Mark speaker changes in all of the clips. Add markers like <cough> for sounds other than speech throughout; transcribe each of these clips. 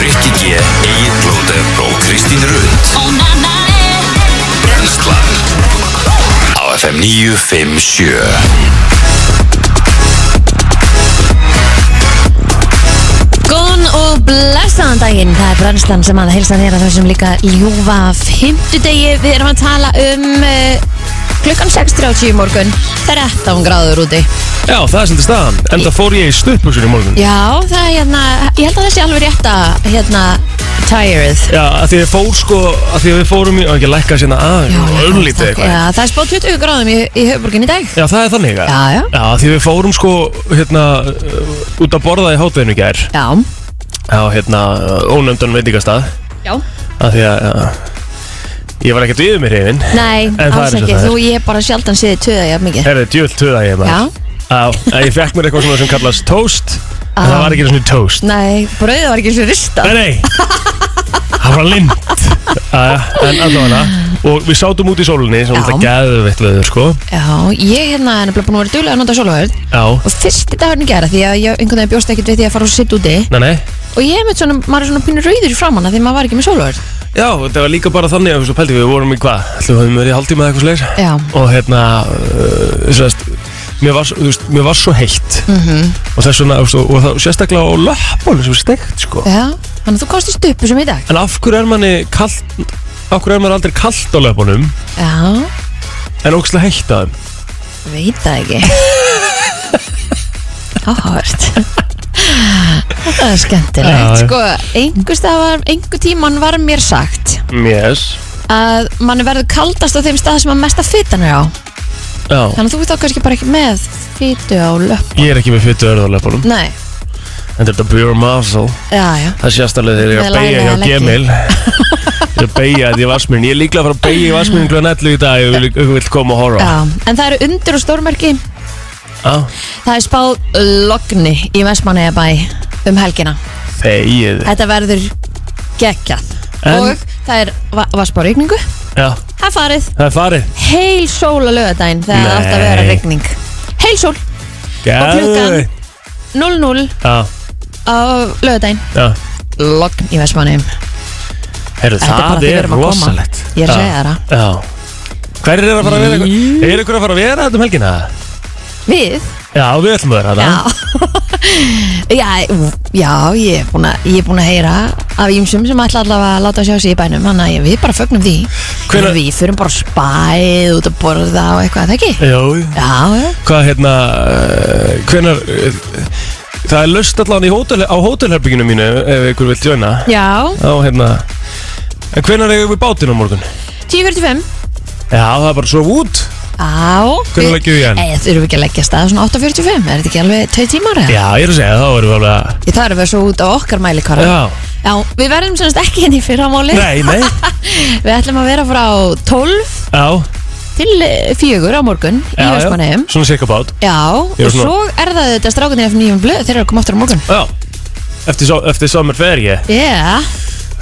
Speaker 1: Rikki G, Egil Blóter og Kristín Rund
Speaker 2: Oh, na, na, eh.
Speaker 1: Brenslan Á FM 957
Speaker 3: Góðan og blessaðan daginn, það er brennslan sem að helsa þér að þessum líka ljúfa fymtudegi Við erum að tala um uh, klukkan 6.30 í morgun, 13 gráður úti
Speaker 4: Já, það er svolítið staðan Enda fór ég í stuttbuxur í morgun
Speaker 3: Já, það er hérna, ég held að það sé alveg rétta, hérna, tired
Speaker 4: Já, að því við fór sko að Því við fórum í, á ekki að lækka sérna aðeins Örlítið
Speaker 3: takk.
Speaker 4: eitthvað
Speaker 3: Já, það er spáð 20 gráðum í, í höfuborgin í dag
Speaker 4: Já, það er þannig að
Speaker 3: Já, já.
Speaker 4: Já, því við fórum sko hérna uh, Út að borða í hátveðinu gær
Speaker 3: Já,
Speaker 4: Á hérna uh, ónefndan veitingastað
Speaker 3: já
Speaker 4: Að því að uh, Ég var ekkert yfir mér hefinn
Speaker 3: Nei,
Speaker 4: það er eins
Speaker 3: alls
Speaker 4: og
Speaker 3: ekki,
Speaker 4: það er.
Speaker 3: þú ég hef bara sjaldan séð töða jafn mikið
Speaker 4: Herði, djúvill töða ég
Speaker 3: Já.
Speaker 4: maður Já að Ég fekk mér eitthvað svona sem kallast toast En það
Speaker 3: Ah.
Speaker 4: var ekki svona toast
Speaker 3: Nei, brauðið var ekki eins og rista
Speaker 4: Nei, nei Það var lind Eh, En allavega Og við sátum út í sólunni Svo
Speaker 3: Já.
Speaker 4: þetta geðveitt veður sko
Speaker 3: Já, ég hérna er nefnilega búin að vera duglega að nota sóluhörð
Speaker 4: Já
Speaker 3: og fyrsti dagurinn gera því að ég einhvern veginn bjóst ekkert við því að fara og sitt úti
Speaker 4: Nei, nei
Speaker 3: og ég hef með svona, maður er svona pínur rauður í framanna því maður var ekki með sólvörð
Speaker 4: Já, þetta var líka bara þannig að svo pældi við vorum í hvað Ætlum við höfum verið í haldtíma eða eitthvað slegir
Speaker 3: Já.
Speaker 4: Og hérna uh, sérst, mér, var, svo- þú veist, mér var svo heitt -hmm. Og þess vegna þú veist, og, og það, sérstaklega á löppunum sem er steikt sko
Speaker 3: Já, þannig að þú kostið stuppu sem í dag
Speaker 4: En af hverju er manni kalt Af hverju er manni aldrei kalt á löpunum
Speaker 3: Já,
Speaker 4: En ógstlega heitt á þeim
Speaker 3: veit það <laughs> ekki Áhört Þetta er skemmtilegt
Speaker 4: Já, já.
Speaker 3: Sko, einhver, stafar, einhver tíman var mér sagt
Speaker 4: Yes
Speaker 3: að mann verður kaldast á þeim stað sem að mesta fitan er á
Speaker 4: Já,
Speaker 3: þannig að þú ert þá kannski bara ekki með fitu á löpp
Speaker 4: ég er ekki með fytu örð á löpunum
Speaker 3: Nei,
Speaker 4: En þetta er pure muscle
Speaker 3: já, já
Speaker 4: Það sést alveg þegar ég er
Speaker 3: Með
Speaker 4: að beigja
Speaker 3: laglega
Speaker 4: hjá
Speaker 3: leggi.
Speaker 4: Gemil Ég er að beigja þetta í vassminn Ég er líklega að fara að beigja í vassminn Glöðan allu í dag Ef þú vill koma og horfa
Speaker 3: Já, en það eru undir og stórmerki
Speaker 4: Já,
Speaker 3: Það er spáð logni í Vestmannaeyjabæ um helgina
Speaker 4: Þegið
Speaker 3: Þetta verður geggjað
Speaker 4: En-
Speaker 3: Og það er va vassbár rigningu
Speaker 4: Já,
Speaker 3: Það er farið
Speaker 4: það er farið
Speaker 3: heil sól að lögadaginn þegar það
Speaker 4: Nei.
Speaker 3: átt að vera rigning Heil sól
Speaker 4: Geðveikt.
Speaker 3: 00
Speaker 4: Já,
Speaker 3: á lögadaginn
Speaker 4: já
Speaker 3: Logn í Vestmannaeyjum
Speaker 4: Herru,
Speaker 3: Þetta er bara
Speaker 4: það
Speaker 3: því við
Speaker 4: er
Speaker 3: erum að koma.
Speaker 4: rosalegt
Speaker 3: Ég er að
Speaker 4: Já,
Speaker 3: segja þér það.
Speaker 4: Já Hverjir er að fara að vera Er ykkur að fara að vera þetta um helgina?
Speaker 3: Við?
Speaker 4: Já, við ætlum að vera þetta
Speaker 3: Já <laughs> Já, já ég er búin að, ég er búin að heyra af ímsum sem ætla allavega að láta sjá sig í bænum Þannig að ég- við bara fögnum því
Speaker 4: Hvenær-
Speaker 3: Við fyrum bara á spæð út að borða og eitthvað, er það ekki?
Speaker 4: Jó,
Speaker 3: Já, já
Speaker 4: hvað hérna uh, hvenar uh, það er löst allan í hótel, á hótelherbyggjunum mínu ef ykkur vilt jöna
Speaker 3: Já,
Speaker 4: á hérna en hvenar eigum við bátinn á morgun?
Speaker 3: 10.45
Speaker 4: Já, það er bara svo út
Speaker 3: Já
Speaker 4: Hvenær leggjum við í hann?
Speaker 3: Nei, Eh, þurfum við ekki að leggja af stað svona 8.45 Er þetta ekki alveg 2 tímar eða?
Speaker 4: Já, ég er að segja, þá erum við alveg að
Speaker 3: Ég þarf að vera svo út á okkar mælikvara
Speaker 4: Já,
Speaker 3: já, við verðum semst ekki henni í fyrramáli
Speaker 4: nei, nei
Speaker 3: Við ætlum að vera frá 12
Speaker 4: Já,
Speaker 3: til eh, 4 á morgun í
Speaker 4: já, já,
Speaker 3: Vestmanneum
Speaker 4: svona cirka bát
Speaker 3: Já,
Speaker 4: Ég
Speaker 3: og
Speaker 4: var svona-
Speaker 3: svo er það þetta strákunni eftir nýjum blöð, þeir eru að koma aftur á morgun
Speaker 4: Já, eftir, sá- eftir samar fer ég
Speaker 3: Já,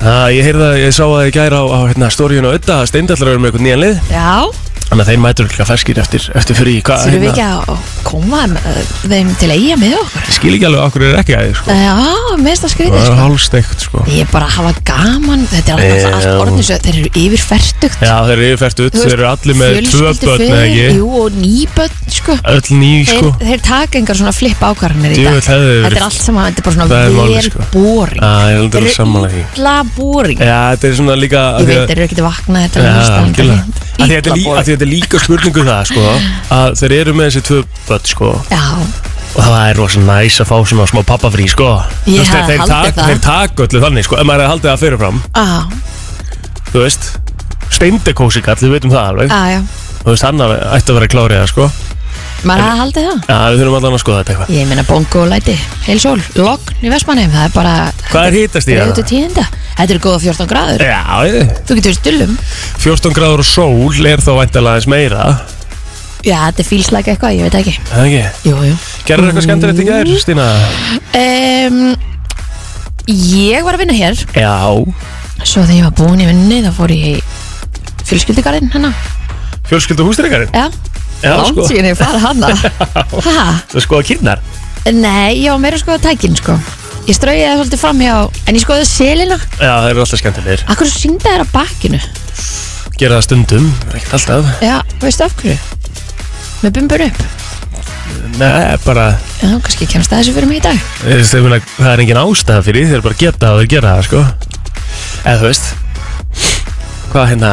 Speaker 4: Já, ég heyrði að ég sá að ég gæra á, á hérna, stóriun og ötta að steindallar eru með eitthvað nýjan lið
Speaker 3: já,
Speaker 4: Þannig að þeir mætur líka ferskir eftir, eftir frí Hvað, hérna,
Speaker 3: þurfum við ekki að koma eh, þeim til að eiga með okkur
Speaker 4: Ég skil ekki alveg okkur er ekki að þið, sko
Speaker 3: Já, mest að skrýta
Speaker 4: Það
Speaker 3: sko.
Speaker 4: er hálsteikt, sko
Speaker 3: Ég er bara að hafa gaman, þetta er alltaf
Speaker 4: Já.
Speaker 3: allt orðin svo, þeir eru yfirferdugt
Speaker 4: Já, þeir eru yfirfært út, þeir eru allir með tvö börn eða ekki
Speaker 3: Jú, og nýbötn, sko
Speaker 4: Öll ný,
Speaker 3: Þeir,
Speaker 4: sko
Speaker 3: þeir taka engar svona flip ákvarðanir í dag
Speaker 4: Djöfull hefði verið-
Speaker 3: Þetta er allt saman, þetta er bara
Speaker 4: Það er
Speaker 3: svona
Speaker 4: málið,
Speaker 3: vel
Speaker 4: sko.
Speaker 3: boring
Speaker 4: Já, ég heldur
Speaker 3: Þeir
Speaker 4: að sammála
Speaker 3: eru
Speaker 4: því.
Speaker 3: illa boring
Speaker 4: Já, þetta er svona líka
Speaker 3: Ég veit, þeir eru ekkert að vakna þetta
Speaker 4: Já,
Speaker 3: er
Speaker 4: algjörlega.
Speaker 3: alveg
Speaker 4: Af því þetta er
Speaker 3: illa
Speaker 4: lí- af
Speaker 3: boring.
Speaker 4: því þetta er líka spurningu það, sko að þeir eru með þessi tvö börn, sko
Speaker 3: Já,
Speaker 4: og það er rosa næs að fá svona smá pappafrí, sko
Speaker 3: Ég
Speaker 4: Þú veist,
Speaker 3: hefði
Speaker 4: þeir- þeir
Speaker 3: haldið
Speaker 4: tak-
Speaker 3: það.
Speaker 4: Þeir taka öllu þannig, sko, ef maður er að halda það fyrirfram
Speaker 3: á,
Speaker 4: þú veist steindekósikall, við veitum það alveg
Speaker 3: á, já
Speaker 4: þú veist, hann ætti að vera klárið það, sko
Speaker 3: Maður hafði haldið það
Speaker 4: Já, við þurfum allan að skoða þetta eitthvað
Speaker 3: Ég meina bongo og læti, heil sól, logn í Vestmannheim Það er bara
Speaker 4: Hvað er Eh. hítast í
Speaker 3: reyðu til
Speaker 4: það?
Speaker 3: tíðinda Þetta er góða 14 gráður
Speaker 4: Já, ég-
Speaker 3: Þú getur stullum
Speaker 4: 14 gráður og sól er þá væntalega aðeins meira
Speaker 3: Já, þetta er fílslæk eitthvað, ég veit ekki
Speaker 4: Það ekki?
Speaker 3: Jú, jú
Speaker 4: Gerður eitthvað skemmtilegt í gær, Stína?
Speaker 3: um, Ég var að vinna hér
Speaker 4: Já
Speaker 3: Svo þegar ég var búin í vinni þá fór ég í fjölskyldigarinn hennar
Speaker 4: Fjölskyldu hústreikarinn?
Speaker 3: Já,
Speaker 4: Já,
Speaker 3: langt
Speaker 4: sko
Speaker 3: síðan
Speaker 4: <laughs>
Speaker 3: ég fara hana Hæ?
Speaker 4: Það skoða kynnar
Speaker 3: Nei, ég var meira sko að tækin sko Ég strauði það svolítið framhjá En ég skoði selina
Speaker 4: Já, það eru alltaf skemmtilegir
Speaker 3: Akkur syngda þær á bakkinu
Speaker 4: Gera það stundum, ekkert alltaf
Speaker 3: Já, veistu af hverju? Með bumbur upp
Speaker 4: Nei, bara,
Speaker 3: Já, kannski kemst það þessu fyrir mig í dag
Speaker 4: eh, þau meina, það er engin ástæða fyrir því, Þeir bara geta það og þeir gera það, sko Eða þú veist Hvað hérna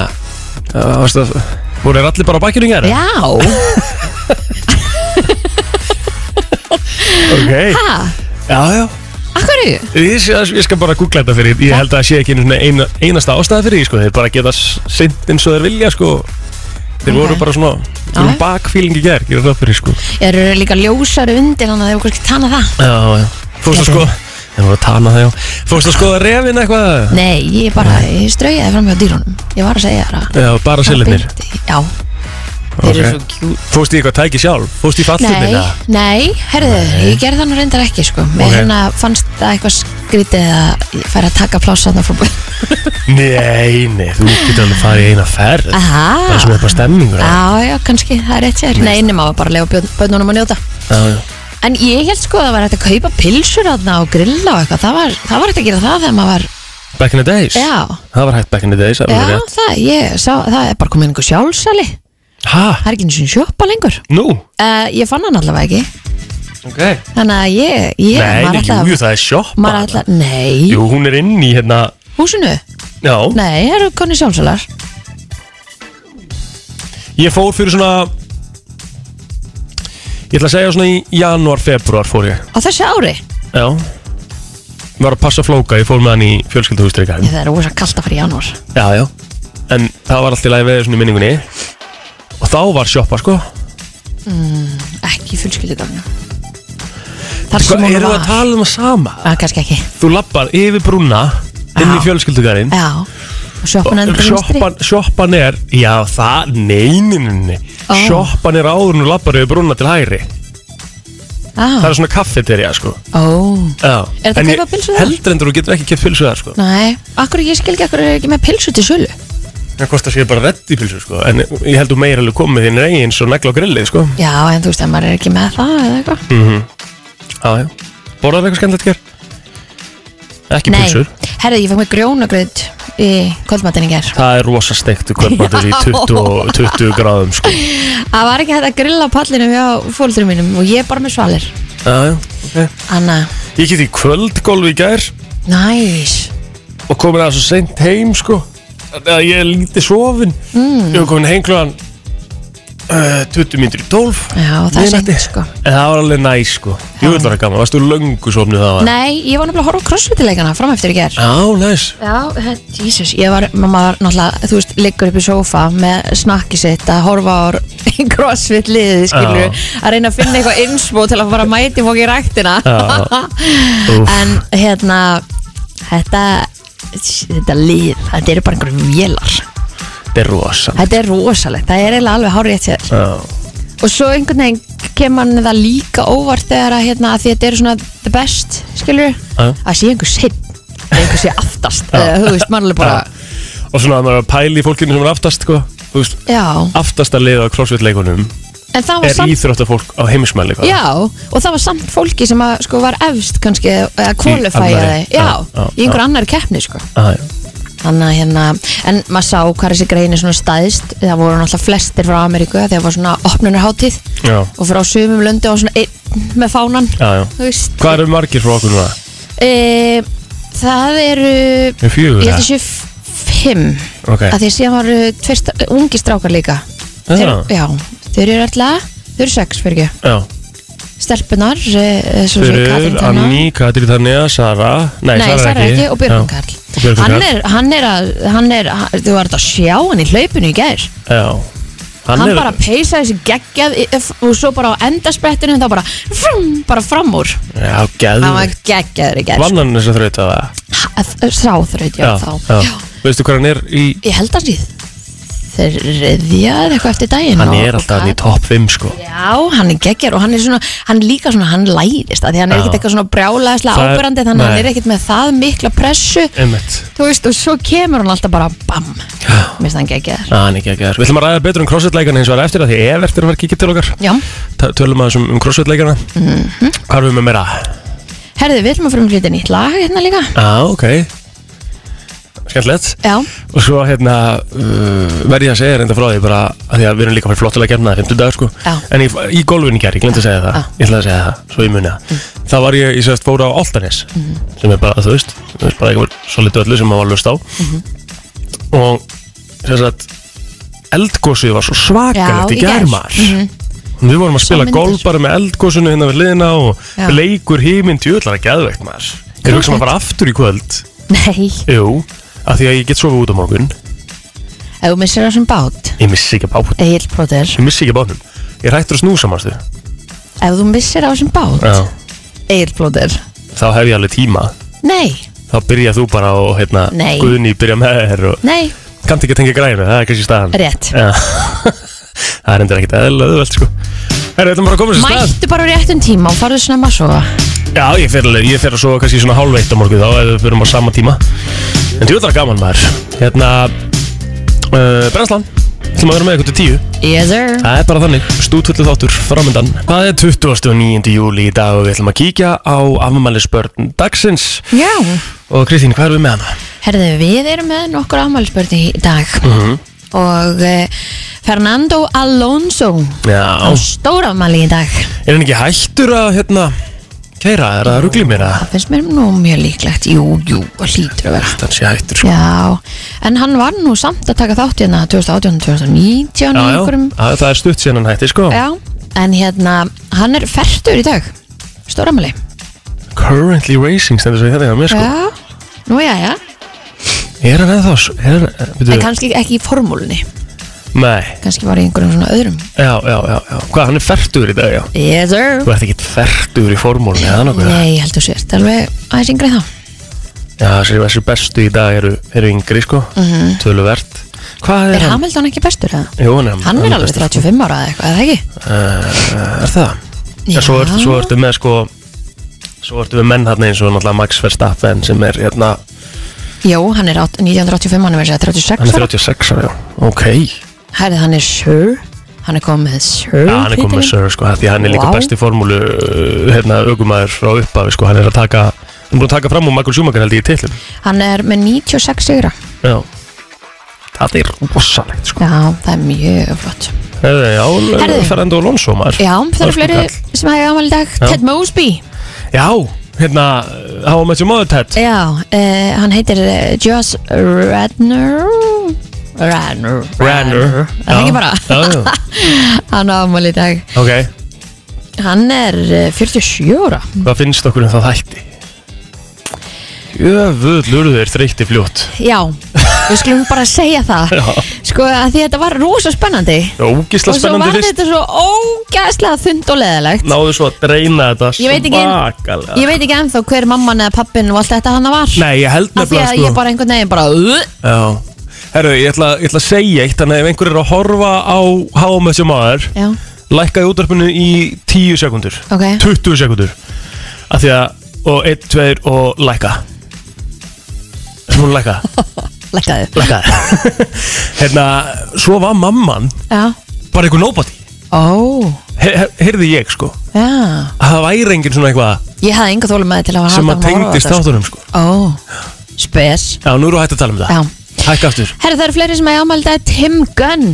Speaker 4: Það varst að Voru þeir allir bara á bakkinu gera?
Speaker 3: Já, <laughs>
Speaker 4: Ok,
Speaker 3: ha,
Speaker 4: já, já
Speaker 3: af hverju?
Speaker 4: Ég, ég, ég skal bara googla þetta fyrir Ég held að það sé ekki einu sinni eina, einasta ástæða fyrir því sko. Þeir bara geta sint eins og þeir vilja sko. Þeir
Speaker 3: Ok.
Speaker 4: voru bara svona Þeir voru
Speaker 3: Já.
Speaker 4: bakfílingi gær Gera það fyrir sko.
Speaker 3: Eru líka ljósari undir hann að þeir kannski tana það?
Speaker 4: já, já. Fórstu að
Speaker 3: Gæti.
Speaker 4: sko Þeir voru að tana það já Fórstu að skoða refin eitthvað
Speaker 3: Nei, ég bara, ég strauði það framhjá dýrunum Ég var að segja þér að
Speaker 4: Já, bara Eh, selinir
Speaker 3: beint í- Já, þeir eru svo
Speaker 4: kjút Fórstu í eitthvað tæki sjálf Fórstu í
Speaker 3: Nei,
Speaker 4: fallfinina
Speaker 3: nei, herðu, ég gerði það nú reyndar ekki sko Mér
Speaker 4: Ok.
Speaker 3: hérna fannst það eitthvað skrítið að ég færi að taka plássatna frá búinn
Speaker 4: Nei, nei, þú getur alveg farið í eina ferð Það er
Speaker 3: Aha,
Speaker 4: svona eitthvað stemmingur á.
Speaker 3: já, já, kannski, það er rétt sér Nei, nema var bara að lefa bönnunum að njóta
Speaker 4: Já, já.
Speaker 3: En ég held sko að það var hægt að kaupa pilsur aðna og grilla og eitthvað Það var, það var hægt að gera það þegar maður var
Speaker 4: Back in the days
Speaker 3: Já,
Speaker 4: Það var hægt back in the days það er alveg
Speaker 3: já,
Speaker 4: rétt.
Speaker 3: það, ég, sá, það er bara komin einhver sjálfsali Það
Speaker 4: Ha,
Speaker 3: er ekki eins og sjoppa lengur
Speaker 4: nú,
Speaker 3: uh, Ég fann hann allavega ekki
Speaker 4: ok
Speaker 3: Þannig að ég, ég
Speaker 4: Nei, nei,
Speaker 3: maður alltaf-
Speaker 4: jú, jú, það er sjoppa
Speaker 3: Maður alltaf, nei,
Speaker 4: Jú, hún er inn í hérna
Speaker 3: húsinu
Speaker 4: Já,
Speaker 3: Nei, það eru konni sjálfsalar
Speaker 4: ég fór fyrir svona Ég ætla að segja svona í janúar, februar fór ég
Speaker 3: Á þessu ári?
Speaker 4: Já Var að passa flóka, ég fór með hann í fjölskylduhústrykka
Speaker 3: Ég, það er ósa kallt að fara í janúar
Speaker 4: Já, já En það var alltaf í lagi veður svona í minningunni Og þá var sjoppa, sko
Speaker 3: Ekki í fjölskyldugangnum Þar
Speaker 4: Hvað
Speaker 3: sem hún
Speaker 4: eru að
Speaker 3: var
Speaker 4: tala um að sama?
Speaker 3: Að, kannski ekki
Speaker 4: Þú lappar yfir brúna inn í
Speaker 3: Já.
Speaker 4: fjölskyldugarinn
Speaker 3: Já Og sjoppan endur
Speaker 4: Sjoppan, sjoppan er, já það, neyninni
Speaker 3: Ó.
Speaker 4: oh. Sjoppan er áður og lappar yfir brúna til hægri Það
Speaker 3: ah.
Speaker 4: er svona kaffeterja sko
Speaker 3: Ó
Speaker 4: Já.
Speaker 3: Er þetta
Speaker 4: En
Speaker 3: kaupa
Speaker 4: ég-
Speaker 3: pylsu þar?
Speaker 4: Heldur endur þú getur ekki keft pilsu þar sko
Speaker 3: Nei Akkur ég skil ekki Akkur er ekki með pilsu til sölu
Speaker 4: Það kostar sér bara redd í pilsu sko En ég held þú meira alveg komið þinn reygin svo negla á grillið sko
Speaker 3: Já en þú veist að maður er ekki með það Eða eitthvað
Speaker 4: Já, já Borðar eitthvað skemmtilegt hér? Ekki pilsur
Speaker 3: Herðu ég fekk mig grjónagraut Í kvöldmatinn í ger
Speaker 4: Það er rosa steikt kvöldmatur í
Speaker 3: Já.
Speaker 4: 20, og 20 gráðum sko
Speaker 3: Það var ekki hægt að grilla á pallinum Hjá fólkdurum mínum Og ég er bara með svalir
Speaker 4: Já, já okay.
Speaker 3: Anna
Speaker 4: Ég geti kvöldgólf í gær
Speaker 3: Næs
Speaker 4: og komin aðeins og seint heim sko Þannig að ég er lítið sofin mm. Ég var komin heim klugan uh, 20 mínútur í 12
Speaker 3: Já það er
Speaker 4: Miðnætti.
Speaker 3: seint sko
Speaker 4: En það var alveg næ sko Jú, þetta var gaman, varstu löngu sofnu það var
Speaker 3: Nei ég var nefnilega að horfa á crossfitileikana Fram eftir í ger
Speaker 4: Já, næs
Speaker 3: Já, hérna, Jesus, ég var, mamma var náttúrulega, þú veist, liggur upp í sófa með snakki sitt að horfa á <laughs> crossfit liðið, skilur að reyna að finna eitthvað innspó til að fara að mæti fók í ræktina <laughs>
Speaker 4: Já. Úff.
Speaker 3: en hérna þetta, þetta lið þetta eru bara einhverjum vélar
Speaker 4: Þetta er rosa
Speaker 3: þetta er rosalegt, það er eiginlega alveg hárið eftir þér
Speaker 4: Já,
Speaker 3: og svo einhvern veginn kemur hann það líka óvart þegar að hérna, að því þetta eru svona the best, skilur
Speaker 4: Já.
Speaker 3: að sé einhver sitt, einhver sé aftast, eða, þú veist, mannlega bara
Speaker 4: Og svona að maður er að pæli í fólkinu sem er aftast sko Þú veist,
Speaker 3: Já,
Speaker 4: aftasta lið á crossfit leikunum
Speaker 3: en það var
Speaker 4: Er
Speaker 3: samt
Speaker 4: íþróttafólk á heimismæli hvað
Speaker 3: Já, og það var samt fólki sem að, sko, var efst kannski að kvalifæja
Speaker 4: annarri,
Speaker 3: þig Já,
Speaker 4: já, já,
Speaker 3: í einhver annar keppni sko.
Speaker 4: Já, já.
Speaker 3: Þannig að hérna, en maður sá hvað þessi grein er svona stæðst Það voru náttúrulega flestir frá Ameríku Þegar var svona opnunarhátíð
Speaker 4: Já.
Speaker 3: Og frá sumum löndu á svona einn með fánan
Speaker 4: Já, já.
Speaker 3: Þú veist
Speaker 4: Hvað eru margir frá okkur núna?
Speaker 3: e, Það eru
Speaker 4: Eru fjögur, eða?
Speaker 3: Ég held þessi fimm
Speaker 4: Ok. Ah.
Speaker 3: að Því að síðan var tveir stra- ungir strákar líka
Speaker 4: Já.
Speaker 3: Þeir- Já, þeir eru alltaf Þau eru sex, fyrir ekki eh,
Speaker 4: Já
Speaker 3: stelpunar
Speaker 4: Fyrir
Speaker 3: Fyrir
Speaker 4: Anní, Katrín Tannea, Sara Nei,
Speaker 3: Nei,
Speaker 4: Sara er ekki
Speaker 3: og Björgun
Speaker 4: Já.
Speaker 3: Karl
Speaker 4: Og Björgvin
Speaker 3: hann,
Speaker 4: Karl.
Speaker 3: er, hann er að hann er, hann- þú var þetta að sjá hann í hlaupinu í gær
Speaker 4: Já
Speaker 3: hann, bara peysa þessi geggjað í- f- og svo bara á endarsprettinu þá bara frum, bara fram úr
Speaker 4: Já,
Speaker 3: hann var
Speaker 4: geðvikt
Speaker 3: geggjaður í gær
Speaker 4: Vann hann þess að þrauta það?
Speaker 3: sáþraut, já, þá Já.
Speaker 4: Veistu hvað hann er í
Speaker 3: ég held að síð þriðja eða eitthvað eftir daginn
Speaker 4: Hann
Speaker 3: og-
Speaker 4: er
Speaker 3: og
Speaker 4: alltaf hann í
Speaker 3: Kat-
Speaker 4: topp 5 sko
Speaker 3: Já, hann er geggjar og hann er svona, hann líka svona, hann læðist að því hann er
Speaker 4: Já.
Speaker 3: ekkert eitthvað svona brjálæðislega
Speaker 4: Það er-
Speaker 3: ábyrrandi þannig að hann
Speaker 4: nei. Eh.
Speaker 3: er ekkert með það mikla pressu
Speaker 4: Einmitt
Speaker 3: þú veist, og svo kemur hann alltaf bara bam, minnst hann geggjar
Speaker 4: Já, hann er geggjaður Við ætlum að ræða betur um crossfit-leikana hins vegar eftir að því Evert er að vera kikið til okkar
Speaker 3: Já, Mhm.
Speaker 4: Ta- Tölum aðeins um, um crossfit-leikana Hvað erum við með meira?
Speaker 3: Herðu, við ætlum að fyrir um hluti nýtt lag hérna líka
Speaker 4: Já, ok Skemmtilegt
Speaker 3: Já,
Speaker 4: Og svo hérna uh, verð ég að segja reynda frá því bara að því að við erum líka fyrir flottilega kemna það er 50 dag sko
Speaker 3: Já.
Speaker 4: En í, í golfinu gerð, ég glemt að segja það
Speaker 3: Já. Mm.
Speaker 4: Ég ætlaði að segja það, svo ég muni það Þá var ég, ég segist, fór á Altanes
Speaker 3: Mhm.
Speaker 4: sem er bara, þú veist, þú veist bara eitthvað svolítið öllu sem maður var lust á
Speaker 3: Mhm.
Speaker 4: Og sem sagt eldgósið var svo svakalegt
Speaker 3: Já,
Speaker 4: í
Speaker 3: í gær. Mhm.
Speaker 4: germar Við vorum að spila
Speaker 3: myndir.
Speaker 4: golf bara með eldgósinu hérna við liðina og
Speaker 3: Já.
Speaker 4: bleikur híminn tjóðlar að geðveikt maður Ég hugsa maður bara aftur í kvöld
Speaker 3: nei,
Speaker 4: Jú, af því að ég get sofið út á morgun
Speaker 3: ef þú missir þessum bát
Speaker 4: Ég missi ekki bátnum
Speaker 3: Egil Plóter,
Speaker 4: Ég missi ekki bátnum Ég er hættur að snúsa mástu
Speaker 3: ef þú missir á þessum bát Egil Plóter
Speaker 4: Þá hef ég alveg tíma
Speaker 3: Nei,
Speaker 4: Þá byrja þú bara og hérna
Speaker 3: Nei.
Speaker 4: Guðni byrja með þér og
Speaker 3: nei,
Speaker 4: Kannt ekki að tengja grænu, það er kannski staðan
Speaker 3: rétt
Speaker 4: Já <laughs> Það er endur ekkert eðla auðvelt sko Herra, við ætlum bara að koma þessu stað
Speaker 3: Mættu bara á réttum tíma og farðu snemma að sofa
Speaker 4: Já, ég fer alveg, ég fer að sofa kannski svona hálfveitt á morgun þá ef við byrjum á sama tíma En djúðar gaman maður Hérna uh, Brennslan, ætlum að vera með eitthvað til tíu
Speaker 3: Yes sir
Speaker 4: Það er bara þannig, stútvöldu þáttur framöndan. Það er 29. júli í dag og við ætlum að kíkja á afmælisbörn dagsins.
Speaker 3: Já
Speaker 4: Og Kristín, hvað erum við með hana?
Speaker 3: Herðu, við erum með nokkur afmælspörni í dag
Speaker 4: Mhm.
Speaker 3: Og uh, Fernando Alonso á
Speaker 4: Já,
Speaker 3: stórafmæli í dag
Speaker 4: er hann ekki hættur að, hérna, kæra, er það ruggli mér að
Speaker 3: Það finnst mér nú mjög líklegt Jú, jú, það hlýtur að vera
Speaker 4: hann sé hættur, sko.
Speaker 3: Já, en hann var nú samt að taka þátt hérna 2018,
Speaker 4: Já,
Speaker 3: 2019
Speaker 4: já,
Speaker 3: í einhverjum
Speaker 4: að- það er stutt síðan hann hætti, sko.
Speaker 3: Já, en hérna, hann er færtur í dag Stóramæli
Speaker 4: Currently Racing, stendur svo í þetta hjá mér, sko.
Speaker 3: Já, nú já, já
Speaker 4: Er hann eða þá, er hann,
Speaker 3: En
Speaker 4: byrju,
Speaker 3: kannski ekki í formúlunni
Speaker 4: nei,
Speaker 3: Kannski var í einhverjum svona öðrum
Speaker 4: já, já, já, já, hvað, hann er færtur í dag, já.
Speaker 3: Yes, sir
Speaker 4: Þú ert ekkit færtur í formúlunni, eða nokkuð?
Speaker 3: Nei, ég heldur sért alveg aðeins yngri þá
Speaker 4: Já, þessi, þessi bestu í dag eru, eru yngri, sko, töluvert. Hvað er,
Speaker 3: Mhm. Er Hamilton ekki bestur eða?
Speaker 4: Jú, hann er,
Speaker 3: Hann er alveg
Speaker 4: bestur.
Speaker 3: 35 ára eða eitthvað, eða ekki?
Speaker 4: Uh, er það? Já. Svo, er, svo ertu með, sko, svo ertu með menn hann eins og náttúrulega Max Verstappen sem er, hérna,
Speaker 3: Jó, hann er átt- 1985, hann er verið að segja 36
Speaker 4: hann er
Speaker 3: ára
Speaker 4: 36 ára, já. Ok.
Speaker 3: Herðið, hann er sir Hann er komið með sir
Speaker 4: Já, hann er komið með
Speaker 3: titilinn.
Speaker 4: Sir, sko, af því að hann er líka
Speaker 3: Vá.
Speaker 4: besti formúlu, uh, hérna, aukumæður frá upphafi, sko, hann er að taka, hann er búin að taka fram úr Michael Schumacher held ég í titlum.
Speaker 3: Hann er með 96 sigra
Speaker 4: Já. Það er rosalegt, sko.
Speaker 3: Já, það er mjög flott
Speaker 4: Herðu, já,
Speaker 3: Herðu.
Speaker 4: Ferrando Alonso, maður.
Speaker 3: Já, það
Speaker 4: Orkukall.
Speaker 3: eru fleiri sem hefði ámæli í dag
Speaker 4: Já.
Speaker 3: Ted Mosby
Speaker 4: Já, hérna, hafa með sér móður tætt.
Speaker 3: Já, eh, hann heitir eh, Joss Radner Radner
Speaker 4: Ranner.
Speaker 3: Er Það er ekki bara
Speaker 4: Já, já,
Speaker 3: Hann ámæli í dag
Speaker 4: ok.
Speaker 3: Hann er eh, 47 ára
Speaker 4: Hvað finnst okkur um það þætti? Jöfull urðu þeir þreytti fljótt
Speaker 3: Já, við skulum bara segja það Sko, að því þetta var rosa spennandi
Speaker 4: Ógisla
Speaker 3: Og svo
Speaker 4: spennandi
Speaker 3: var
Speaker 4: fyrst
Speaker 3: þetta svo ógæslega þund og leðilegt
Speaker 4: Náðu svo að dreina þetta
Speaker 3: Ég veit ekki-
Speaker 4: svakalega
Speaker 3: Ég veit ekki ennþá hver mamman eða pappin og allt þetta hann var
Speaker 4: Nei, ég held
Speaker 3: Af því
Speaker 4: nefnilega
Speaker 3: að
Speaker 4: sko
Speaker 3: ég bara einhvern veginn bara "Ugh."
Speaker 4: Já Herru, ég ætla, ég ætla að segja eitt Þannig að ef einhver er að horfa á Háum þessu maður
Speaker 3: Já,
Speaker 4: Lækkaði útvarpinu í 10 sekundur
Speaker 3: ok
Speaker 4: 20 sekundur Af því að Og 1, 2 og lækka Svo hún
Speaker 3: <laughs>
Speaker 4: lækka
Speaker 3: Lækkaði
Speaker 4: Lækka Hérna, svo var mamman
Speaker 3: Já
Speaker 4: Bara einhver nobody
Speaker 3: Ó,
Speaker 4: He- he- heyrði ég sko
Speaker 3: já
Speaker 4: að það væri enginn svona eitthvað
Speaker 3: Ég hafði enga þólum með til að
Speaker 4: sem
Speaker 3: halda
Speaker 4: að
Speaker 3: áfram horfa á
Speaker 4: tengdist
Speaker 3: þetta,
Speaker 4: þáttunum sko
Speaker 3: sko. Ó, spes
Speaker 4: Já, nú eru hægt að tala um það
Speaker 3: Já
Speaker 4: Hækka aftur
Speaker 3: Herra, það eru fleiri sem hefði ámæli í dag Tim Gunn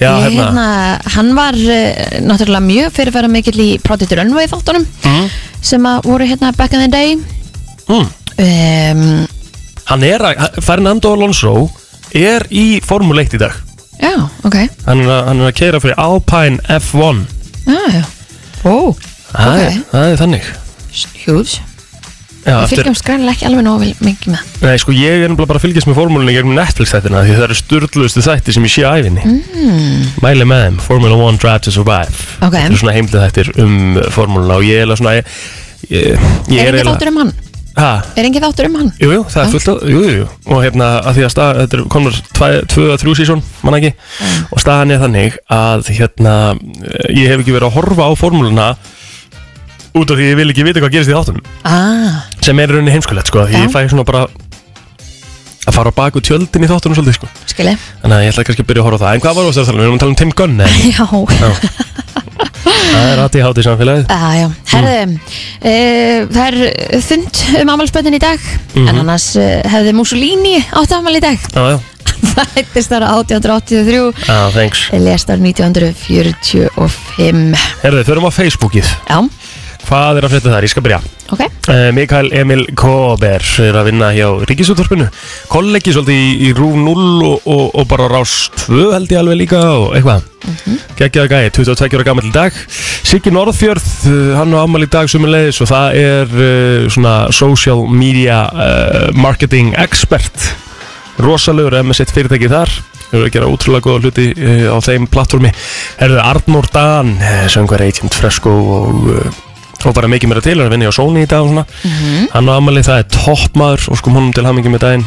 Speaker 4: Já,
Speaker 3: Ég,
Speaker 4: hérna,
Speaker 3: Hann var uh, náttúrulega mjög fyrirfæra mikill í Project Runway þáttunum
Speaker 4: Mhm.
Speaker 3: sem að voru hérna back in the day
Speaker 4: Mm.
Speaker 3: um,
Speaker 4: Hann er að, hann- Fernando Alonso er í Formule 1 í dag
Speaker 3: Já, ok
Speaker 4: Hann er að, hann er að keira fyrir Alpine F1
Speaker 3: Já, já Ó,
Speaker 4: Það
Speaker 3: Ok.
Speaker 4: er, það er þannig
Speaker 3: huge
Speaker 4: Já,
Speaker 3: Við
Speaker 4: eftir,
Speaker 3: fylgjumst greinlega ekki alveg nógu vel mikið með
Speaker 4: nei, sko, ég er nefnilega bara að fylgjast með formúlinni gegnum Netflix þættina því það eru sturdlustu þætti sem ég sé á æfinni mm. Mæli með þeim, Formula 1 Drive to Survive
Speaker 3: Ok.
Speaker 4: Þetta eru svona heimlið þættir um formúluna og ég er eiginlega svona ég, ég, ég er
Speaker 3: Er engin
Speaker 4: eiginlega-
Speaker 3: þáttur um hann?
Speaker 4: Ha?
Speaker 3: Er engin þáttur um hann?
Speaker 4: Jú, jú, það er fullt af, jú, jú, jú. og hérna að því að stað, þetta er komur 2-3 sísón, mann ekki og staðan er þannig að hérna eh, ég hef ekki verið að horfa á formúluna út af því ég vil ekki vita hvað gerist í þáttunum
Speaker 3: Ah,
Speaker 4: sem er í rauninni heimskulegt sko, því
Speaker 3: Já.
Speaker 4: ég fæ svona bara að fara á baku tjöldin í þáttunum svolítið sko,
Speaker 3: <laughs> skilji
Speaker 4: þannig að ég ætla kannski að byrja að horfa á það en hvað var það að tala um, við erum að tala um Tim Gunn eða?
Speaker 3: Já,
Speaker 4: Já. Það er aðtíð hátið samfélagið
Speaker 3: Já, já, herðu,
Speaker 4: Mm.
Speaker 3: uh, það er þund um afmælspöndin í dag
Speaker 4: Mhm.
Speaker 3: en annars uh, hefði Mussolini átt afmæl í dag <laughs>
Speaker 4: Já, já,
Speaker 3: Það hættist ára 1883
Speaker 4: já, thanks
Speaker 3: lest ára 1945
Speaker 4: Herðu, förum á Facebookið
Speaker 3: Já,
Speaker 4: Hvað er að frétta þar? Ég skal byrja
Speaker 3: ok
Speaker 4: Eh, Mikael Emil Kober er að vinna hjá Ríkisúttorpinu kollegi svolítið í, í Rúf 0 og, og, og bara á Rás 2 held ég alveg líka og eitthvað mm geggjaða gæi, 22 ára gammal í dag Siggi Norðfjörð, eh, hann á afmæli í dag sumulegis og það er uh, svona social media uh, marketing expert rosalegur ef með sitt fyrirtæki þar hefur að gera útrúlega góða hluti uh, á þeim plattformi Herðu Arnór Dan, eh, söngvar Agent Fresco og, uh, og bara mikið meira til er að vinna hjá Sony í dag og svona Hann á Amali, það er toppmaður og sko honum til hamingi með daginn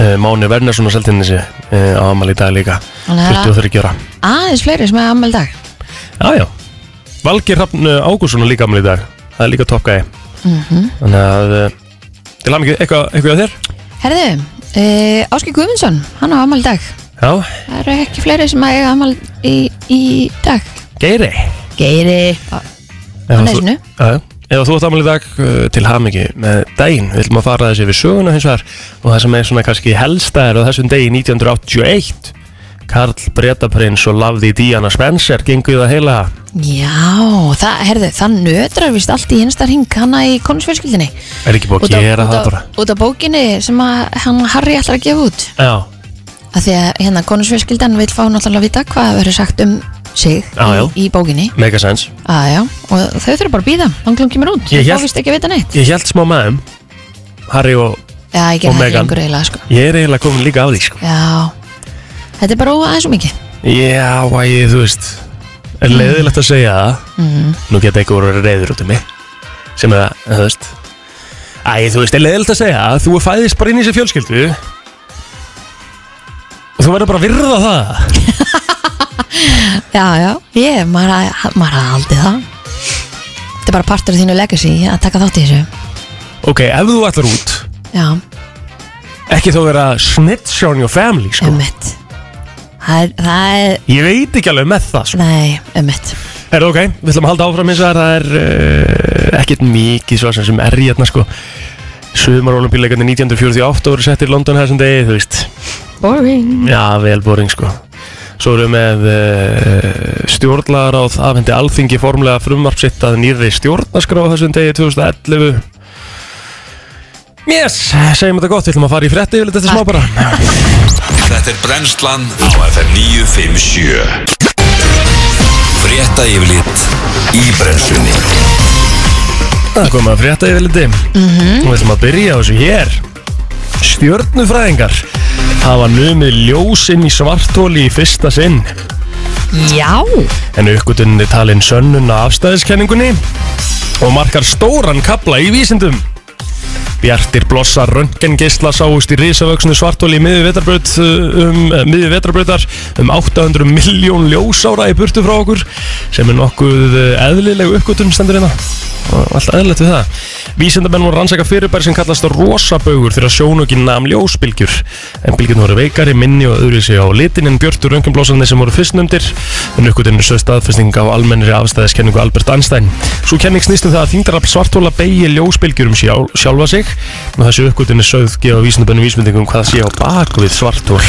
Speaker 4: uh, Máni Vernersson á Seltinnissi uh, á Amali í dag líka
Speaker 3: Þannig að-
Speaker 4: 23 ára
Speaker 3: Aðeins fleiri sem hefði afmæl í dag
Speaker 4: Já, já Valgir Hrafn eh, Ágússon á líka Amali í dag Það er líka toppgæði
Speaker 3: Mhm.
Speaker 4: Þannig að uh, til hamingi eitthvað, eitthvað á þér
Speaker 3: Herðu, uh, Áski Guðmundsson, hann á afmæl í dag
Speaker 4: Já,
Speaker 3: Það eru ekki fleiri sem hefði afmæl í, í dag
Speaker 4: Geiri
Speaker 3: Geiri, á-
Speaker 4: Ef
Speaker 3: Hann er
Speaker 4: þú-
Speaker 3: sinu.
Speaker 4: Já, já. Ef þú átt afmæli í dag uh, til hamingi með daginn, við viljum að fara þessi við söguna hins vegar og það sem er svona kannski helsta er á þessum degi 1981 Karl Bretaprins og lafði Diana Spencer gengu í það heila
Speaker 3: já, það, herðu, það nötrar vist allt í hinstar hing hana í konusfjörskildinni
Speaker 4: Er ekki búið
Speaker 3: út
Speaker 4: að
Speaker 3: af-
Speaker 4: gera
Speaker 3: út
Speaker 4: það
Speaker 3: af-
Speaker 4: bara
Speaker 3: út af bókinni sem að hann Harry ætlar að gefa út
Speaker 4: Já,
Speaker 3: af því að hérna konusfjölskyldan vil fá náttúrulega að vita hvað verður sagt um sig
Speaker 4: Já, já.
Speaker 3: í, í bókinni
Speaker 4: megasens
Speaker 3: ah, já. og þau þurfa bara að býða langlum kemur út,
Speaker 4: Ég
Speaker 3: þau
Speaker 4: hélt-
Speaker 3: fá vist ekki að vita neitt
Speaker 4: Ég held smá með þeim Harry og
Speaker 3: já, ég
Speaker 4: Og
Speaker 3: gerði það
Speaker 4: Meghan.
Speaker 3: lengur eiginlega sko.
Speaker 4: ég er eiginlega komin líka af því sko.
Speaker 3: já, þetta er bara aðeins og mikið
Speaker 4: Já, vægi, þú veist Er leiðilegt að segja það Nú geta ekki voru reyður út um mig Sem er það, þú veist Æ, þú veist, er leiðilegt að segja það Þú er fæðist bara inn í sér fjölskyldu Og þú verður bara að virða það
Speaker 3: já, já, ég, maður að- maður að aldrei það þetta er bara partur af þínu legacy að taka þátt í þessu
Speaker 4: Ok, ef þú ætlar út
Speaker 3: já,
Speaker 4: Ekki þó vera snitch on your family sko.
Speaker 3: ummitt það er, það er,
Speaker 4: Ég veit ekki alveg með það sko.
Speaker 3: nei, ummitt
Speaker 4: Er það ok, við ætlum að halda áfram eins og það er uh, ekkert mikið svo sem er í hérna sko Sumar olimpíuleikandi 1948 voru sett í London þessum degi, þú veist
Speaker 3: boring
Speaker 4: Já, vel boring sko Svo erum við með uh, stjórnlagaráð afhendi alþingi formlega frumvarp sitt að nýrri stjórnarskrá á þessum degi 2011 Yes, segjum þetta gott, við ætlum að fara í frétti yfir þetta smá bara
Speaker 1: Þetta er brennslan á FM 957 Frétta yfirlit í brennslunni
Speaker 4: Það komum að frétta yfir liti Og við ætlum að byrja á þessu hér Stjörnufræðingar hafa numið ljósinn í svartóli í fyrsta sinn
Speaker 3: já,
Speaker 4: En aukkutunni talin sönnun á afstæðiskenningunni Og markar stóran kapla í vísindum Bjartir blossar röntgengeisla sáust í risavöksnu svartóli í miðju vetarbraut uh, um, eh, miðju vetarbrautar um 800 miljón ljósára í burtu frá okkur sem er nokkuð eh, eðlileg uppgötun stendur hérna og allt eðlilegt við það. Vísindamenn voru rannsaka fyrirbæri sem kallast rosabaugur þegar sjónuginn nam ljósbylgjur en bylgjurnar voru veikari, minni og öðru sig á litin en björtu röntgenblósarnir sem voru fyrstnumdir en uppgötun er sögð staðfesting á almennri afstæðiskenningu Albert Einstein. Svo kenning snýst um það að þingdarafl svartóla beigi ljósbylgjur um sjál, sjálfa sig og þessi uppgötun er sögð gefa vísindabennum vísmyndingum hvað sé á bak við svartól.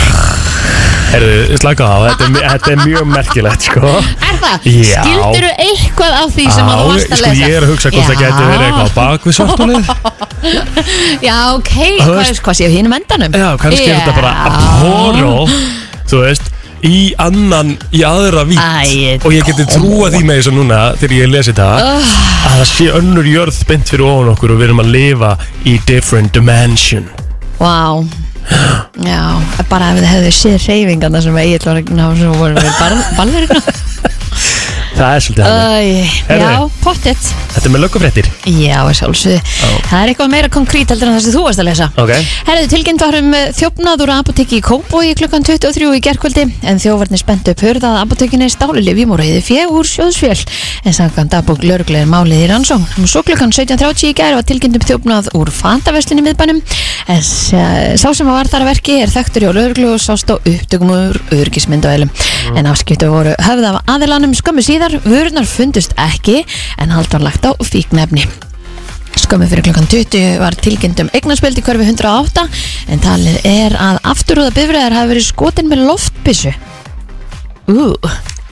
Speaker 4: Herðu, slaka á, þetta er, mi- þetta er mjög merkilegt sko.
Speaker 3: Er það?
Speaker 4: Já.
Speaker 3: Skildirðu eitthvað af því sem að þú varst að
Speaker 4: sko
Speaker 3: lesa?
Speaker 4: ég er að hugsa hvort það
Speaker 3: Já.
Speaker 4: getur verið eitthvað á bak við svartólið.
Speaker 3: Já, ok, hvað,
Speaker 4: veist-
Speaker 3: hvað séu hínum endanum?
Speaker 4: Já, kannski er þetta bara abhorró Þú veist Í annan, í aðra vít
Speaker 3: Æ,
Speaker 4: Og ég geti trúa því með þessu núna Þegar ég lesi þetta Að það sé önnur jörð beint fyrir ofan okkur Og við erum að lifa í different dimension
Speaker 3: Vá Já, bara ef þið hefðu séð reyfingarna sem ég ætla að ná sem voru við ballverðina
Speaker 4: Það er svolítið hann Herðu.
Speaker 3: Já, pottet
Speaker 4: Þetta er með löggufréttir
Speaker 3: Já, að sjálfsögðu Það er eitthvað meira konkrét heldur en það sem þú varst að lesa
Speaker 4: Ok.
Speaker 3: Herðu, tilkynnt var um eh, þjófnað úr apotekki í Kópói klukkan 23 í gerkvöldi en þjófarnir spennt upp hörða að apotekkinni stálilif í morgiði fjö úr sjóðsfjöl en samkvæmt dagbók lörglega er málið í rannsókn og svo klukkan 17.30 í gær var tilkynnt um þjófnað úr fantaverslinni miðbænum en eh, sá sem var þar að verki er þekktur hjá lörglu og sást á upptökum úr örgismyndavælum en afskiptu voru höfð af aðilanum skömmu síðar veiðar, vörunar fundust ekki en haldan lagt á fíknefni. Skömmu fyrir klokkan 20 var tilkynnt um eignarspjöld í körfi 108 en talið er að afturúða bifræðar hafi verið skotin með loftbissu. Ú,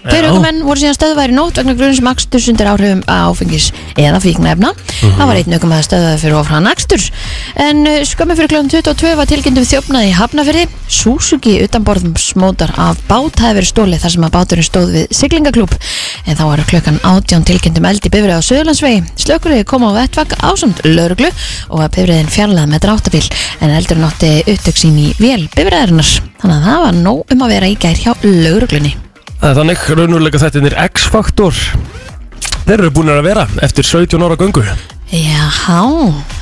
Speaker 3: Tveir
Speaker 4: Já.
Speaker 3: aukumenn voru síðan stöðværi nótt vegna grunns maksturs undir áhrifum áfengis eða fíknefna. Það var einn aukum að stöðværi fyrir ofran aksturs. En uh, skömmu fyrir klokkan 22 var tilkynnt um þjófnaði í Hafnafyrði. Suzuki utanborðum smótar af bát hafi verið stólið þar sem að báturinn stóð við siglingaklúb. En þá var klukkan 18 tilkynnt um eldi bifrið á Suðurlandsvegi. Slökuriði kom á vettvak ásamt lauruglu og að bifriðin fjarlæði með dráttabíl en eldur nátti upptök sín í vél bifriðarinnar. Þannig að það var nóg um að vera í gær hjá lauruglunni.
Speaker 4: Það er Þannig raunverulega þættinir X-faktor Þeir eru búin að vera eftir 17 ára göngu
Speaker 3: Jáhá,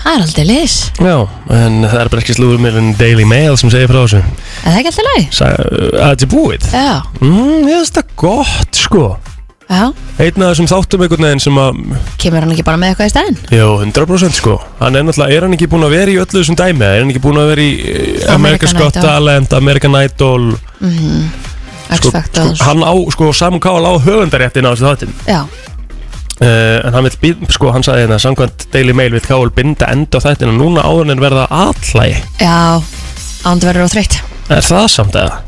Speaker 3: það er aldrei lis
Speaker 4: Já, en það er bara ekki slúður með en Daily Mail sem segir frá þessu
Speaker 3: Er það ekki alltaf læg?
Speaker 4: Sa- að Þetta er búið
Speaker 3: Já,
Speaker 4: mm, Ég finnst það gott sko
Speaker 3: já,
Speaker 4: Einn af þessum þáttum einhvern veginn sem að
Speaker 3: kemur hann ekki bara með eitthvað í stæðin?
Speaker 4: Jó, 100% sko Hann er náttúrulega, er hann ekki búin að vera í öllu þessum dæmi Er hann ekki búin að vera í eh, America's
Speaker 3: American
Speaker 4: Got
Speaker 3: Idol.
Speaker 4: Talent, American Idol sko, sko,
Speaker 3: X-Factors
Speaker 4: Hann á, sko, Samun Kál á höfundaréttin á þessu þáttum
Speaker 3: Já,
Speaker 4: uh, en hann vil býð, sko hann sagði hérna samkvæmt Daily Mail vil Kául binda enda á þættina núna áður en verða allægi
Speaker 3: já, ándu verður á þreytt
Speaker 4: er það samt eða?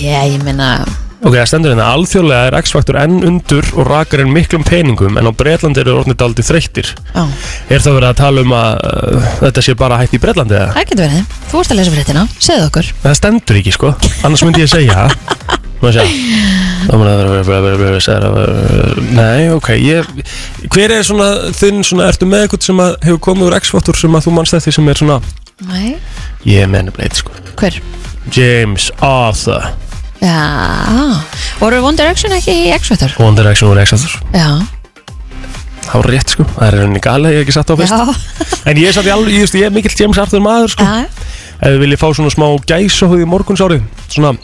Speaker 3: Já, ég meina,
Speaker 4: Ok, það stendur hérna, alþjóðlega er X-faktur enn undur og rakar enn miklum peningum en á Breitlandi eru orðnir daldi þreyttir
Speaker 3: já,
Speaker 4: Er það verið að tala um að uh, þetta sé bara hægt í Breitlandi eða?
Speaker 3: það getur verið Þú ert að lesa fréttina, segðu okkur
Speaker 4: Það stendur ekki sko, annars myndi ég segja Má sjá Þá mun að vera- vera- vera- vera- vera- vera- Nei, ok ég, Hver er svona þinn, svona, ertu með eitthvað sem að hefur komið úr X-faktur sem að þú manst eftir sem er svona
Speaker 3: Nei,
Speaker 4: Ég menna bara eitt sko
Speaker 3: hver?
Speaker 4: James Arthur
Speaker 3: Já, voru One Direction ekki í X-Factor?
Speaker 4: One Direction voru X-Factor
Speaker 3: Já, það
Speaker 4: Það var rétt sko, það er henni galið, ég hef ekki satt á fyrst
Speaker 3: Já,
Speaker 4: En ég er satt í alveg, ég, veist, ég er mikill James Arthur maður sko
Speaker 3: já
Speaker 4: Ef við viljið fá svona smá gæsahúð í morgunsárið Svona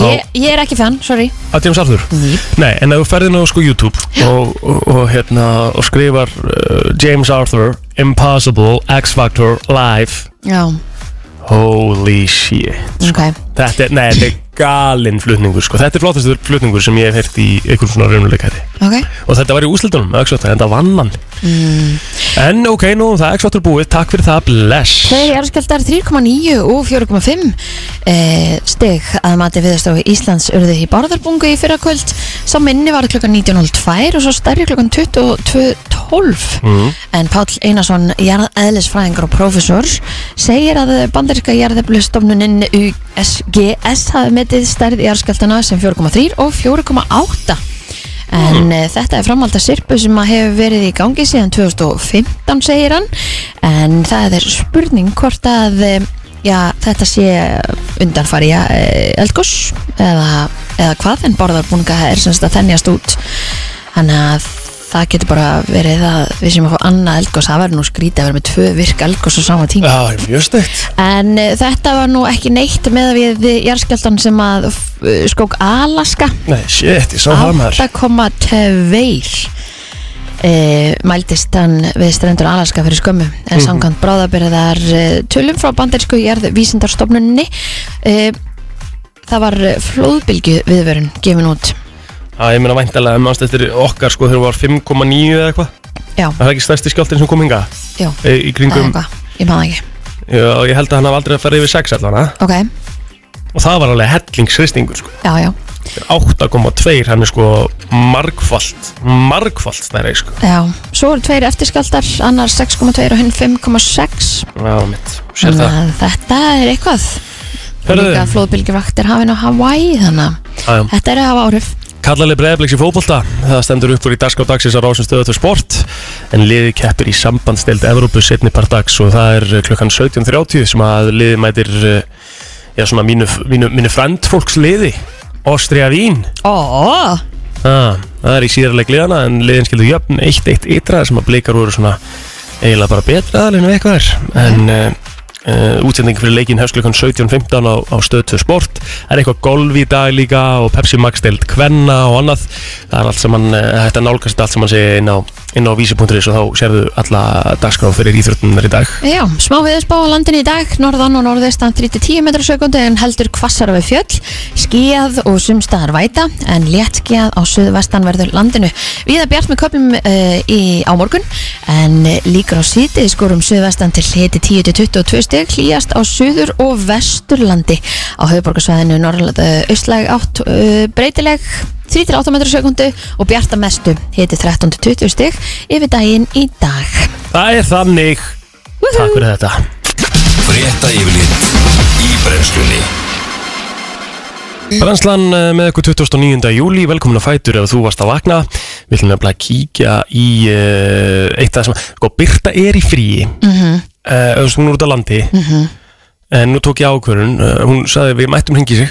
Speaker 3: Ég, ég er ekki fan, sorry
Speaker 4: að James Arthur
Speaker 3: Nýp
Speaker 4: Nei, en ef þú ferðin á sko YouTube og, og, og, hérna, og skrifar uh, James Arthur Impossible X-Factor Live
Speaker 3: Já,
Speaker 4: Holy shit
Speaker 3: ok,
Speaker 4: Þetta er, nei, þetta er galinn flutningur sko Þetta er flottastu flutningur sem ég hef heyrt í einhverjum svona raunulekæti
Speaker 3: ok
Speaker 4: og þetta var í úslitunum með X-Factor, þetta vann hann en ok, nú um það X-Factor búið, takk fyrir það, bless
Speaker 3: Þeir eru skjaldar 3,9 og 4,5 eh, steg að mati viðastofu Íslands urðu í Bárðarbungu í fyrra kvöld Sá minni var klukkan 19.02 og svo stærri klukkan 22.12
Speaker 4: Mm.
Speaker 3: En Páll Einarsson, jarðeðlisfræðingur og prófessor segir að bandaríska jarðeðblustofnunin USGS hafi metið stærð jarðskjaldana sem 4,3 og 4,8 En mm. þetta er framhald að sirpu sem að hefur verið í gangi síðan 2015 segir hann en það er spurning hvort að eh, já, þetta sé undanfari ja, eldgoss eða, eða hvað en borðarbúninga er semst að þennjast út þannig að það getur bara verið að við sem að fá annað eldgoss það verður nú skrítið að vera með tvö virk eldgoss á sama tíma
Speaker 4: Já, ég er mjög steikt
Speaker 3: En eh, þetta var nú ekki neitt með við jarðskjáltan sem að eh, skók Alaska
Speaker 4: Nei, shit, ég sá það maður
Speaker 3: 8,2 e, mæltist hann við strendur Alaska fyrir skömmu en
Speaker 4: Mhm.
Speaker 3: samkvæmt bráðabirðar e, tölum frá bandersku jærð vísindarstofnunni e, það var flóðbylgu viðvörun gefin út
Speaker 4: Já, ég meina væntalega, maður stættir okkar sko þegar var 5,9 eða eitthvað
Speaker 3: já,
Speaker 4: Það er ekki stærsti skjáltinn sem kom hinga í
Speaker 3: já, það er
Speaker 4: kringum,
Speaker 3: eitthvað, ég maður ekki
Speaker 4: já, ég held að hann hafði aldrei að fara yfir 6 allan ha?
Speaker 3: ok,
Speaker 4: og það var alveg hellingsristingur sko
Speaker 3: já, já,
Speaker 4: 8,2, hann er sko margfalt, margfalt stærri sko
Speaker 3: já svo eru tveir eftirskjaldar, annar 6,2 og hinn 5,6
Speaker 4: Já, mitt, sér
Speaker 3: þannig
Speaker 4: það
Speaker 3: að þetta er eitthvað
Speaker 4: Hörðu.
Speaker 3: líka flóðbylgjuvaktir hafin á Hawaii þannig
Speaker 4: Já, já.
Speaker 3: að þetta er að hafa áhrif
Speaker 4: Kallali breyðabliks í fótbolta, það stendur upp úr í dagskátt dagsins á rásum stöðu til sport en liði keppir í sambandsdeild Evrópu setni par dags og það er eh, klukkan 17.30 sem að liði mætir eh, já svona mínu, mínu, mínu frendfólks liði, Ástria Vín
Speaker 3: Ó,
Speaker 4: ah, það er í síðarleik liðana en liðin skildur jöfn 1-1 ytra sem að blikar voru svona eiginlega bara betra aðalinn við eitthvað er en uh, uh, útsending fyrir leikin hefst klukkan 17.15 á, á stöð 2 sport það er eitthvað golf í dag líka og Pepsi Max deild kvenna og annað það er eh, allt sem mann, uh, þetta nálgast allt sem mann segja inn á inn á vísi.is og þá sérðu alla dagskráð fyrir íþróttunar í dag
Speaker 3: Já, smá viðspá á landinu í dag, norðan og norðestan 3-10 metrar sekundi en heldur hvassar við fjöll, skíðað og sumstaðar væta en létt skíðað á suðvestanverður landinu. Viða bjart með köpum uh, í, á morgun en eh, líkur á sítið skorum suðvestan til hiti 10-22 steg, hlýjast á suður og vesturlandi. Á eh, höfuborgarsvæðinu norðaustlæg 8 uh, breytileg 3-8 metrar sekundu og bjarta mestu hiti 13-20 steg yfir daginn í dag.
Speaker 4: Það er þannig Takk fyrir þetta
Speaker 1: Frétta yfirlit í brennslunni
Speaker 4: Brennslan eh, með ykkur 29. júli Velkomin að fætur ef þú varst að vakna Við ætlum nefnilega að kíkja í uh, eitt af það sem sko, Birta er í fríi mm -hmm. Hún er út á landi En nú tók ég ákvörun uh, Hún sagði við mættum hringi sig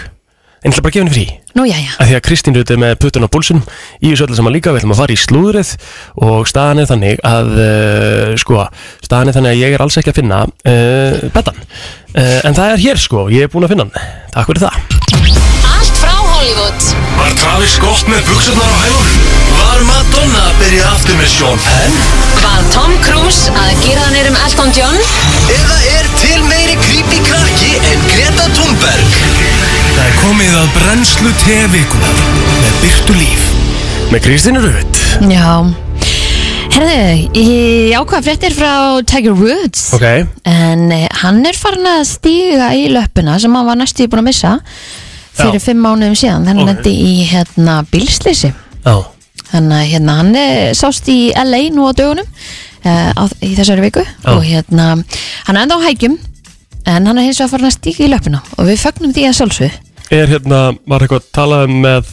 Speaker 4: En ég ætla bara að gefa henni frí
Speaker 3: Nú jæja.
Speaker 4: að því að Kristín Rutt er með puttun á búlsum í þessu öllu saman líka, við ætlum að fara í slúðrið og staðan er þannig að uh, sko, staðan er þannig að ég er alls ekki að finna uh, betan uh, en það er hér sko, ég er búin að finna hann takk fyrir það
Speaker 2: Allt frá Hollywood
Speaker 1: Var Travis gott með buksarnar á hælunum? Var Madonna að byrja aftur með Sean Penn?
Speaker 2: Var Tom Cruise að gera hann er um Elton John
Speaker 1: Eða er til meiri creepy krakki en Greta Thunberg? Það er komið að brennslu tevikunar með byrtu líf
Speaker 4: með Kristín Rutt
Speaker 3: Já Herðu, ég ákvað fréttir frá Tiger Woods
Speaker 4: ok,
Speaker 3: En eh, hann er farin að stíga í löppuna sem hann var næstu búin að missa Fyrir
Speaker 4: Já.
Speaker 3: fimm mánuðum síðan Þannig
Speaker 4: Ok.
Speaker 3: okay. lendi í hérna bílslýsi
Speaker 4: já,
Speaker 3: Þannig að hérna, hann eh, sást í LA nú á dögunum uh, á, í þessari viku
Speaker 4: Já.
Speaker 3: og hérna, hann er enda á hækjum en hann er hins vegar farin að stíka í löpuna og við fögnum því að sjálfsög
Speaker 4: er hérna var eitthvað að tala um með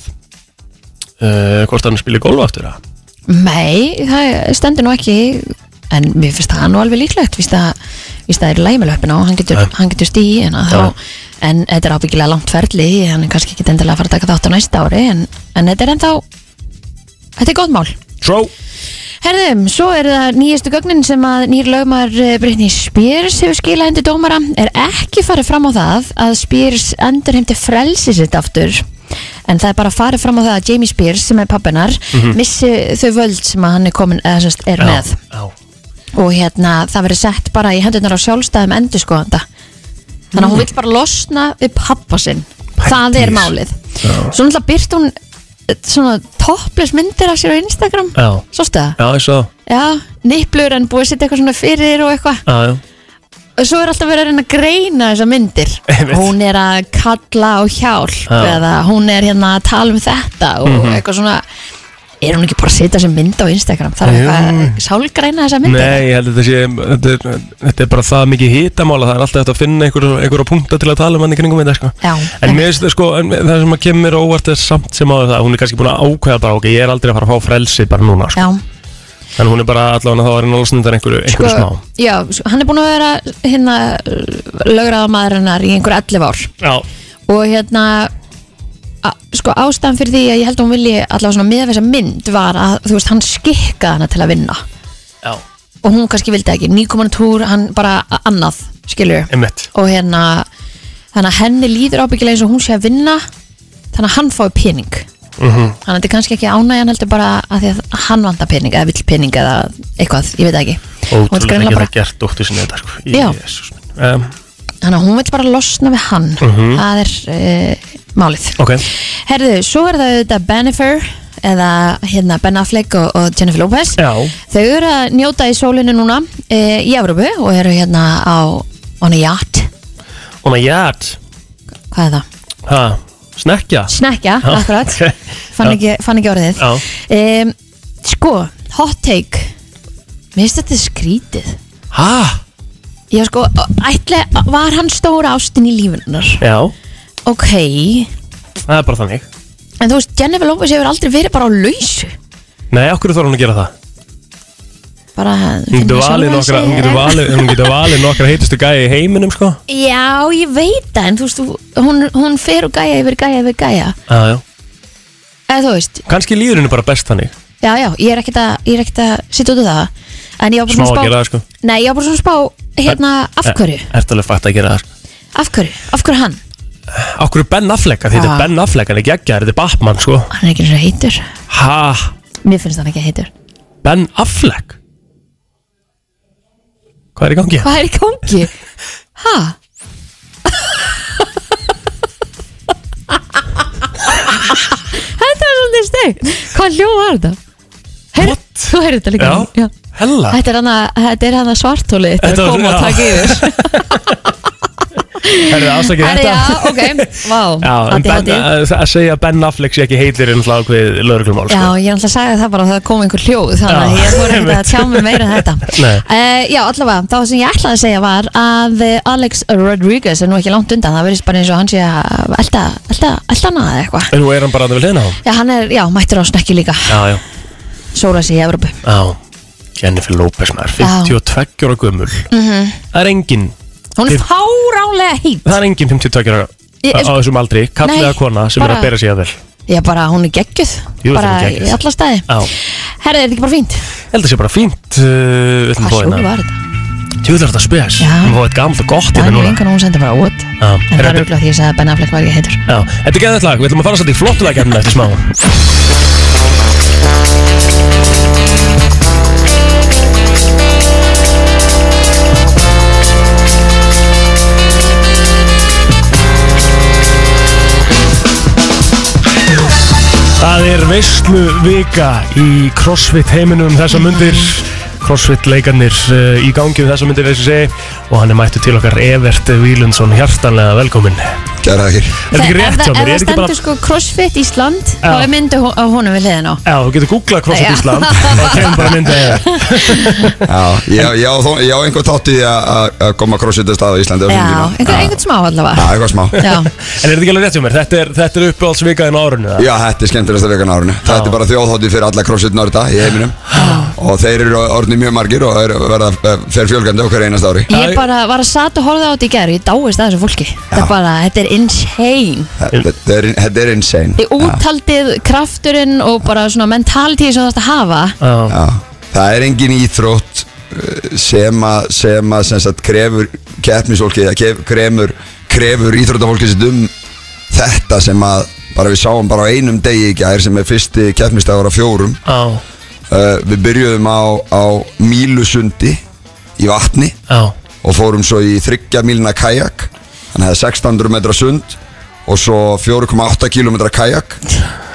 Speaker 4: uh, hvort hann spilir golf aftur að
Speaker 3: Nei, það stendur nú ekki en mér finnst það nú alveg líklegt víst að, víst að það er læmilöpina og hann getur,
Speaker 4: Nei.
Speaker 3: hann getur stíði en, þá, en þetta er ábyggilega langt ferli hann er kannski ekki endilega að fara að taka þátt á næsta ári en, en þetta er ennþá þetta er góð mál
Speaker 4: tró,
Speaker 3: Herðum, svo er það nýjastu gögnin sem að nýr lögmar Brytni Spears hefur skilað hendur dómara er ekki farið fram á það að Spears endur heimti frelsi sitt aftur en það er bara farið fram á það að Jamie Spears sem er pappinar missi þau völd sem að hann er komin eða sérst er með
Speaker 4: Mhm. já,
Speaker 3: og hérna það verið sett bara í hendurnar á sjálfstæðum endur skoðanda þannig
Speaker 4: Mm.
Speaker 3: að hún vill bara losna við pappa sinn það er málið svo náttúrulega byrt hún eh, svona topless myndir af sér á Instagram
Speaker 4: já,
Speaker 3: Sástu það?
Speaker 4: já, ég svo
Speaker 3: Já, nýplur en búið að setja eitthvað svona fyrir þér og eitthvað
Speaker 4: já, já,
Speaker 3: og svo er alltaf verið að reyna að greina þessar myndir
Speaker 4: <laughs> Einmitt.
Speaker 3: hún er að kalla á hjálp
Speaker 4: Já. Mhm.
Speaker 3: eða hún er hérna að tala um þetta og eitthvað svona er hún ekki bara að setja þessar mynd á Instagram þarf
Speaker 4: Jú.
Speaker 3: eitthvað að sálgreina þessar myndir
Speaker 4: Nei, ég held að þetta sé þetta, er- þetta er bara það mikið hitamála það er alltaf hægt að finna einhver- einhverja punkta til að tala um hann í kringum þetta sko.
Speaker 3: Já,
Speaker 4: en mér finnst þetta sko, en það sem að kemur á óvart er samt sem áður það, að hún er kannski búin að ákveða bara, ok, ég er aldrei að fara að fá frelsi bara núna, sko.
Speaker 3: já,
Speaker 4: en hún er bara allavega þá er hún alveg snundar einhverju, einhverju smá
Speaker 3: já, sko, hann er búin að vera hérna lögraða maðurinnar í einhver 11 ár
Speaker 4: Já,
Speaker 3: og hérna a- sko ástæðan fyrir því að ég held að hún vilji allavega svona miða við þessa mynd var að þú veist hann skikkaði hana til að vinna
Speaker 4: já,
Speaker 3: og hún kannski vildi ekki, nýkoman túr hann bara a- annað, skilur
Speaker 4: einmitt
Speaker 3: og hérna, þannig að henni líður ábyggilega eins og hún sé að vinna þannig að hann fái pening
Speaker 4: Mhm.
Speaker 3: þannig að þetta er kannski ekki ánægjan heldur bara að því að hann vantar pening eða vill pening eða eitthvað, ég veit það ekki Hún vill
Speaker 4: Ótrúlega
Speaker 3: greinilega
Speaker 4: ekki
Speaker 3: bara-
Speaker 4: það gert dóttu sinni þetta, sko
Speaker 3: Já.
Speaker 4: Jesús minn. um,
Speaker 3: þannig að hún vill bara losna við hann
Speaker 4: Mhm.
Speaker 3: það er uh, málið
Speaker 4: Ok,
Speaker 3: Herðu, svo er það auðvitað Bennifer eða hérna Ben Affleck og, og Jennifer Lopez
Speaker 4: já,
Speaker 3: Þau eru að njóta í sólinu núna e, í Evrópu og eru hérna á on a yacht,
Speaker 4: og maður jæt
Speaker 3: hvað er það?
Speaker 4: Oh Ha, snekkja
Speaker 3: Snekja,
Speaker 4: <laughs> Já,
Speaker 3: akkurat
Speaker 4: ok.
Speaker 3: fann,
Speaker 4: Já.
Speaker 3: ekki, fann ekki orðið
Speaker 4: Já.
Speaker 3: e, Sko, hot take Mér finnst þetta skrítið
Speaker 4: Ha,
Speaker 3: Já sko, ætli, var hann stóra ástin í lífinar?
Speaker 4: já,
Speaker 3: Ok, en
Speaker 4: það er bara þannig
Speaker 3: þú veist, Jennifer Lopez hefur aldrei verið bara á lausu
Speaker 4: Nei, okkur þarf hún að gera það
Speaker 3: bara
Speaker 4: Hún
Speaker 3: finna
Speaker 4: getur valið
Speaker 3: sjálfa
Speaker 4: nokkra,
Speaker 3: sig
Speaker 4: hún getur
Speaker 3: eða-
Speaker 4: valið, hún getur valið nokkra heitustu gæi í heiminum sko
Speaker 3: Já, ég veit það, en þú veist, þú- hún, hún fer og gæja yfir gæja yfir gæja.
Speaker 4: ah, já.
Speaker 3: Eða þú veist,
Speaker 4: Kanski líður henni bara best þannig
Speaker 3: já, já, ég er ekkert að, ég er ekkert að sitja út af það. En ég á bara
Speaker 4: Smá
Speaker 3: svona
Speaker 4: að
Speaker 3: spá...
Speaker 4: gera það, sko.
Speaker 3: Nei, ég á bara svona spá, hérna, af hverju?
Speaker 4: Er þetta alveg fætt að gera það sko
Speaker 3: Af hverju? Af hverju hann?
Speaker 4: Af hverju Ben Affleck, Af því þetta
Speaker 3: Já.
Speaker 4: er Ben Affleck, hann er geggjar, þetta er Batman sko
Speaker 3: Hann er ekki eins og heitur.
Speaker 4: Ha,
Speaker 3: Mér finnst hann ekki heitur.
Speaker 4: Ben Affleck Hvað er í gangi?
Speaker 3: Hvað er í gangi? Ha? þetta er svolítið steg Hvað hljóð var þetta? Heyr,
Speaker 4: What?
Speaker 3: þú heyrði þetta líka
Speaker 4: Já,
Speaker 3: Já.
Speaker 4: hella
Speaker 3: Þetta er hana, þetta er hana svartóli Þetta
Speaker 4: Þetta
Speaker 3: er
Speaker 4: var-
Speaker 3: að koma að
Speaker 4: já.
Speaker 3: taka yfir
Speaker 4: Herðu afsakið
Speaker 3: Herri,
Speaker 4: þetta
Speaker 3: já, ok, vá
Speaker 4: <laughs> Já, en
Speaker 3: Haddi,
Speaker 4: ben,
Speaker 3: haddi.
Speaker 4: að, að segja að Ben Affleck sé ekki heilir en hlað við lögreglumál
Speaker 3: Já,
Speaker 4: sko.
Speaker 3: ég ætla að sagði það bara að það kom einhver hljóð þannig að
Speaker 4: Já,
Speaker 3: ég fór ekkert að
Speaker 4: einmitt.
Speaker 3: tjá mig meira en þetta
Speaker 4: <laughs> Nei.
Speaker 3: uh, Já, allavega, það sem ég ætlaði að segja var að eh, Alex Rodriguez er nú ekki langt undan það verðist bara eins og hann sé að elda, elda, elda hana eða eitthvað
Speaker 4: En nú er hann bara að við hliðna á
Speaker 3: Já, hann er, já, mættur á snekki líka
Speaker 4: Já, já,
Speaker 3: Sóla sig í Evrópu
Speaker 4: já Jennifer Lopez maður,
Speaker 3: Já. Mhm.
Speaker 4: 52 ára gömul -hmm. Það er engin
Speaker 3: Hún er
Speaker 4: Þið-
Speaker 3: fárálega heit
Speaker 4: Það er engin 52 ára
Speaker 3: Ég-
Speaker 4: á þessum aldri,
Speaker 3: Nei,
Speaker 4: kallega kona sem er
Speaker 3: bara-
Speaker 4: að bera sig að vel
Speaker 3: Já, bara hún er geggjuð
Speaker 4: Jú,
Speaker 3: Bara
Speaker 4: þetta er geggjuð.
Speaker 3: í alla staði
Speaker 4: Já.
Speaker 3: Herði, er þetta ekki bara fínt?
Speaker 4: Held að sé bara fínt uh,
Speaker 3: Hvað hljóð var þetta?
Speaker 4: Tjóðlar þetta spes
Speaker 3: Já.
Speaker 4: Við fáum eitt gamalt og gott
Speaker 3: Það
Speaker 4: hérna
Speaker 3: er nú
Speaker 4: núna
Speaker 3: einhvern hún sendi bara út
Speaker 4: Já.
Speaker 3: En
Speaker 4: Er
Speaker 3: það er
Speaker 4: þetta-
Speaker 3: auðvitað því að ég sagði að Ben Affleck var ekki heitur
Speaker 4: Já, þetta er geðvægt lag, við ætlum að fara svolítið í flottu lag hérna eftir smá Það er veislu vika í crossfit heiminum um þessa mundir crossfit leikarnir uh, í gangi um þessa mundir eins og segi og hann er mættu til okkar Evert Vílundsson hjartanlega velkominn Er
Speaker 5: Kæra þakir
Speaker 4: þetta ekki
Speaker 3: Ef
Speaker 4: rétt hjá
Speaker 3: það-
Speaker 4: mér?
Speaker 3: ef
Speaker 4: Er
Speaker 3: það
Speaker 4: ekki bara-
Speaker 3: stendur sko CrossFit Ísland þá
Speaker 4: Já.
Speaker 3: er myndu á honum við hliðin á
Speaker 4: Já, þú getur googlað CrossFit
Speaker 3: Já. <laughs>
Speaker 4: Ísland og kemur bara myndið eða
Speaker 5: Já, ég, ég, á þó- ég á einhver tátt í að- að að koma crossfit að stað á Íslandi á
Speaker 3: Já,
Speaker 5: sínum tíma.
Speaker 3: einhvern,
Speaker 5: Já.
Speaker 3: einhvern smá allavega
Speaker 5: Já, eitthvað smá
Speaker 3: Já,
Speaker 4: En er þetta ekki alveg rétt hjá mér? Þetta er, þetta er uppáhaldsvikaðin á árunni það?
Speaker 5: Já, þetta er skemmtilegsta vegan á árinu Þetta er bara þjóðhóttið fyrir alla crossfit nörda í heiminum Og þeir eru orðnið mjög margir og er, verða fyrir fjölgandi okkur einast ári
Speaker 3: ég bara var að sat og horfa á þetta í gerð Ég dáist að þessu fólki Þetta er bara, þetta er insane
Speaker 5: Þetta þetta er, þetta er insane
Speaker 3: Í úttaldið, krafturinn og bara svona mentalitíð sem þú þarfst að hafa
Speaker 4: Já,
Speaker 5: Já, það er engin íþrótt uh, sem að sem að sem sagt krefur keppnisfólkið, kef, kremur krefur íþróttafólkið sitt um þetta sem að bara við sáum bara á einum degi í gær sem er fyrsti keppnistagur á fjórum
Speaker 4: já,
Speaker 5: uh, við byrjuðum á, á Mílusundi í vatni
Speaker 4: já
Speaker 5: og fórum svo í þryggja mílina kajak þannig að það er 1600 metra sund og svo 4,8 kilometra kajak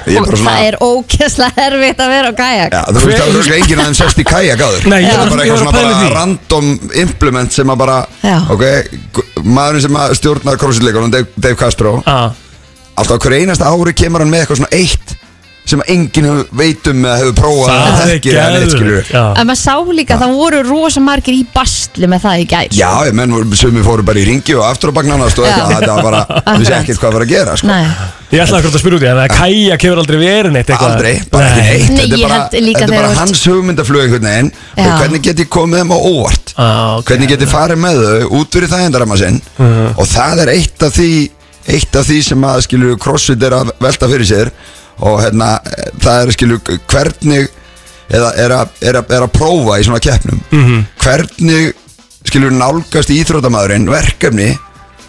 Speaker 5: Ég
Speaker 3: Og
Speaker 5: bara svona-
Speaker 3: það er ókesslega erfitt að vera á gajak
Speaker 5: Já, þú veist,
Speaker 4: Hver-
Speaker 5: það er enginn að þeim sest í kæja gáður
Speaker 4: Nei, ég
Speaker 5: Það
Speaker 4: var-
Speaker 5: er
Speaker 4: ég
Speaker 5: bara eitthvað
Speaker 4: var að
Speaker 5: svona
Speaker 4: pæla í
Speaker 5: bara
Speaker 4: því.
Speaker 5: random implement sem að bara
Speaker 3: Já.
Speaker 5: Ok, gu- maðurinn sem að stjórnar crossfitleikunum, Dave, Dave Castro
Speaker 4: Já,
Speaker 5: Alltaf hverju einasta ári kemur hann með eitthvað svona eitt sem að enginn hefur- veit um eða hefur prófað
Speaker 4: það
Speaker 5: eða
Speaker 4: er
Speaker 5: þekkir eða neitt, skilurðu.
Speaker 4: geðveikt, Já,
Speaker 3: En maður sá líka, það voru rosa margir í bastli með það í gær
Speaker 5: Já, ég menn, sumi fóru bara í ringi og aftur á bagnanast og
Speaker 3: Já.
Speaker 5: eitthvað Þetta var bara,
Speaker 3: <laughs>
Speaker 5: vissi
Speaker 3: Akkurat.
Speaker 5: ekkert hvað var að gera, sko
Speaker 3: Nei
Speaker 4: Ég ætlaði akkur að spyrja út í það, að kæja kemur aldrei verið neitt eitthvað
Speaker 5: Aldrei, bara ekki neitt
Speaker 3: Nei,
Speaker 5: Þetta
Speaker 3: ég
Speaker 5: er bara,
Speaker 3: held líka
Speaker 5: þetta er
Speaker 3: þegar
Speaker 5: bara
Speaker 3: þú ert-
Speaker 5: hans hugmyndaflug einhvern veginn
Speaker 3: Já.
Speaker 5: Og hvernig get ég komið þeim á óvart
Speaker 4: Á, ok. Uh-huh.
Speaker 5: Hvernig get ég farið með þau út fyrir þægindarama sinn Og það er eitt af því Eitt af því sem að skilur crossfit er að velta fyrir sér Og hérna, það er skilur hvernig Eða er að, er að, er að prófa í svona keppnum
Speaker 4: Mhm.
Speaker 5: -hmm. Hvernig skilur nálgast íþrótamaðurinn verkefni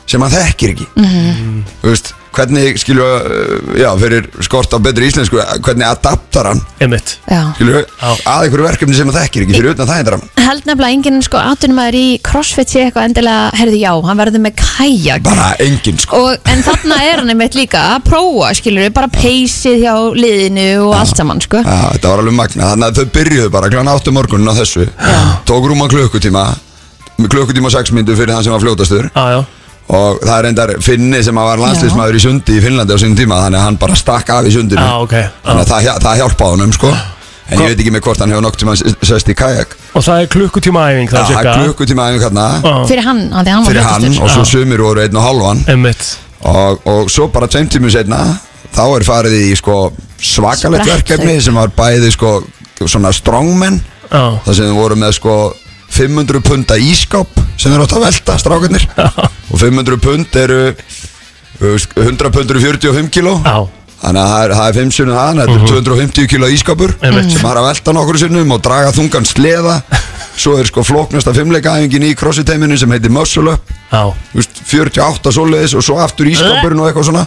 Speaker 5: sem hann þekkir ekki Þú veist, hvernig skilur uh, já, fyrir skort á betri íslensku eh, hvernig adaptar hann
Speaker 4: Einmitt
Speaker 3: Já.
Speaker 5: skilur,
Speaker 4: Já.
Speaker 5: að einhverju verkefni sem það þekkir ekki fyrir utan það hérna, hendur hann
Speaker 3: held nefnilega enginn sko atunumæður í crossfit sé eitthvað endilega, herðu já, hann verður með kajak
Speaker 5: bara engin sko
Speaker 3: og, en þarna er hann einmitt líka að prófa skilur við, bara peysið hjá liðinu og allt saman sko
Speaker 5: já, þetta var alveg magna, þannig að þau byrjuðu bara klána áttu morgunin á þessu tók rúma klukkutíma klukkutíma og sex myndu fyrir þann sem var fljótastur
Speaker 4: Já, já,
Speaker 5: og það er endar Finni sem að var landsliðsmaður í sundi í Finnlandi á sínum tíma þannig að hann bara stakk af í sundinu
Speaker 4: já, ok já.
Speaker 5: þannig að það, það hjálpaði honum sko en ég veit ekki með hvort hann hefur nokk tíma sest í kajak
Speaker 4: Og það er klukkutíma æfing
Speaker 5: Já,
Speaker 4: það
Speaker 5: það
Speaker 4: cirka.
Speaker 5: er klukkutíma aðeins hérna
Speaker 4: Já,
Speaker 3: fyrir hann, af því að hann var
Speaker 5: fyrir hann
Speaker 3: hlutastur
Speaker 5: og svo sumir voru einn og halvan
Speaker 4: Einmitt
Speaker 5: og, og svo bara tveim tímum setna þá er farið í sko svakalegt
Speaker 3: Sprett,
Speaker 5: verkefni sem var bæði sko svona strongmen
Speaker 4: Já,
Speaker 5: þar sem þau voru með sko 500 punta ískáp sem þeir átt að velta strákarnir og 500 pund eru þú veist, 100 pund eru 45 kíló
Speaker 4: já, Mhm.
Speaker 5: þannig að það er, það er 5 sinnum þannig þetta er 250 kíló ískápur
Speaker 4: Einmitt.
Speaker 5: sem har að velta nokkru sinnum og draga þungan sleða svo er sko flóknasta fimmleikaæfingin í crossfit-teiminu sem heitir muscle up
Speaker 4: Já,
Speaker 5: Þú veist, 48 svoleiðis og svo aftur ískapurinn og eitthvað svona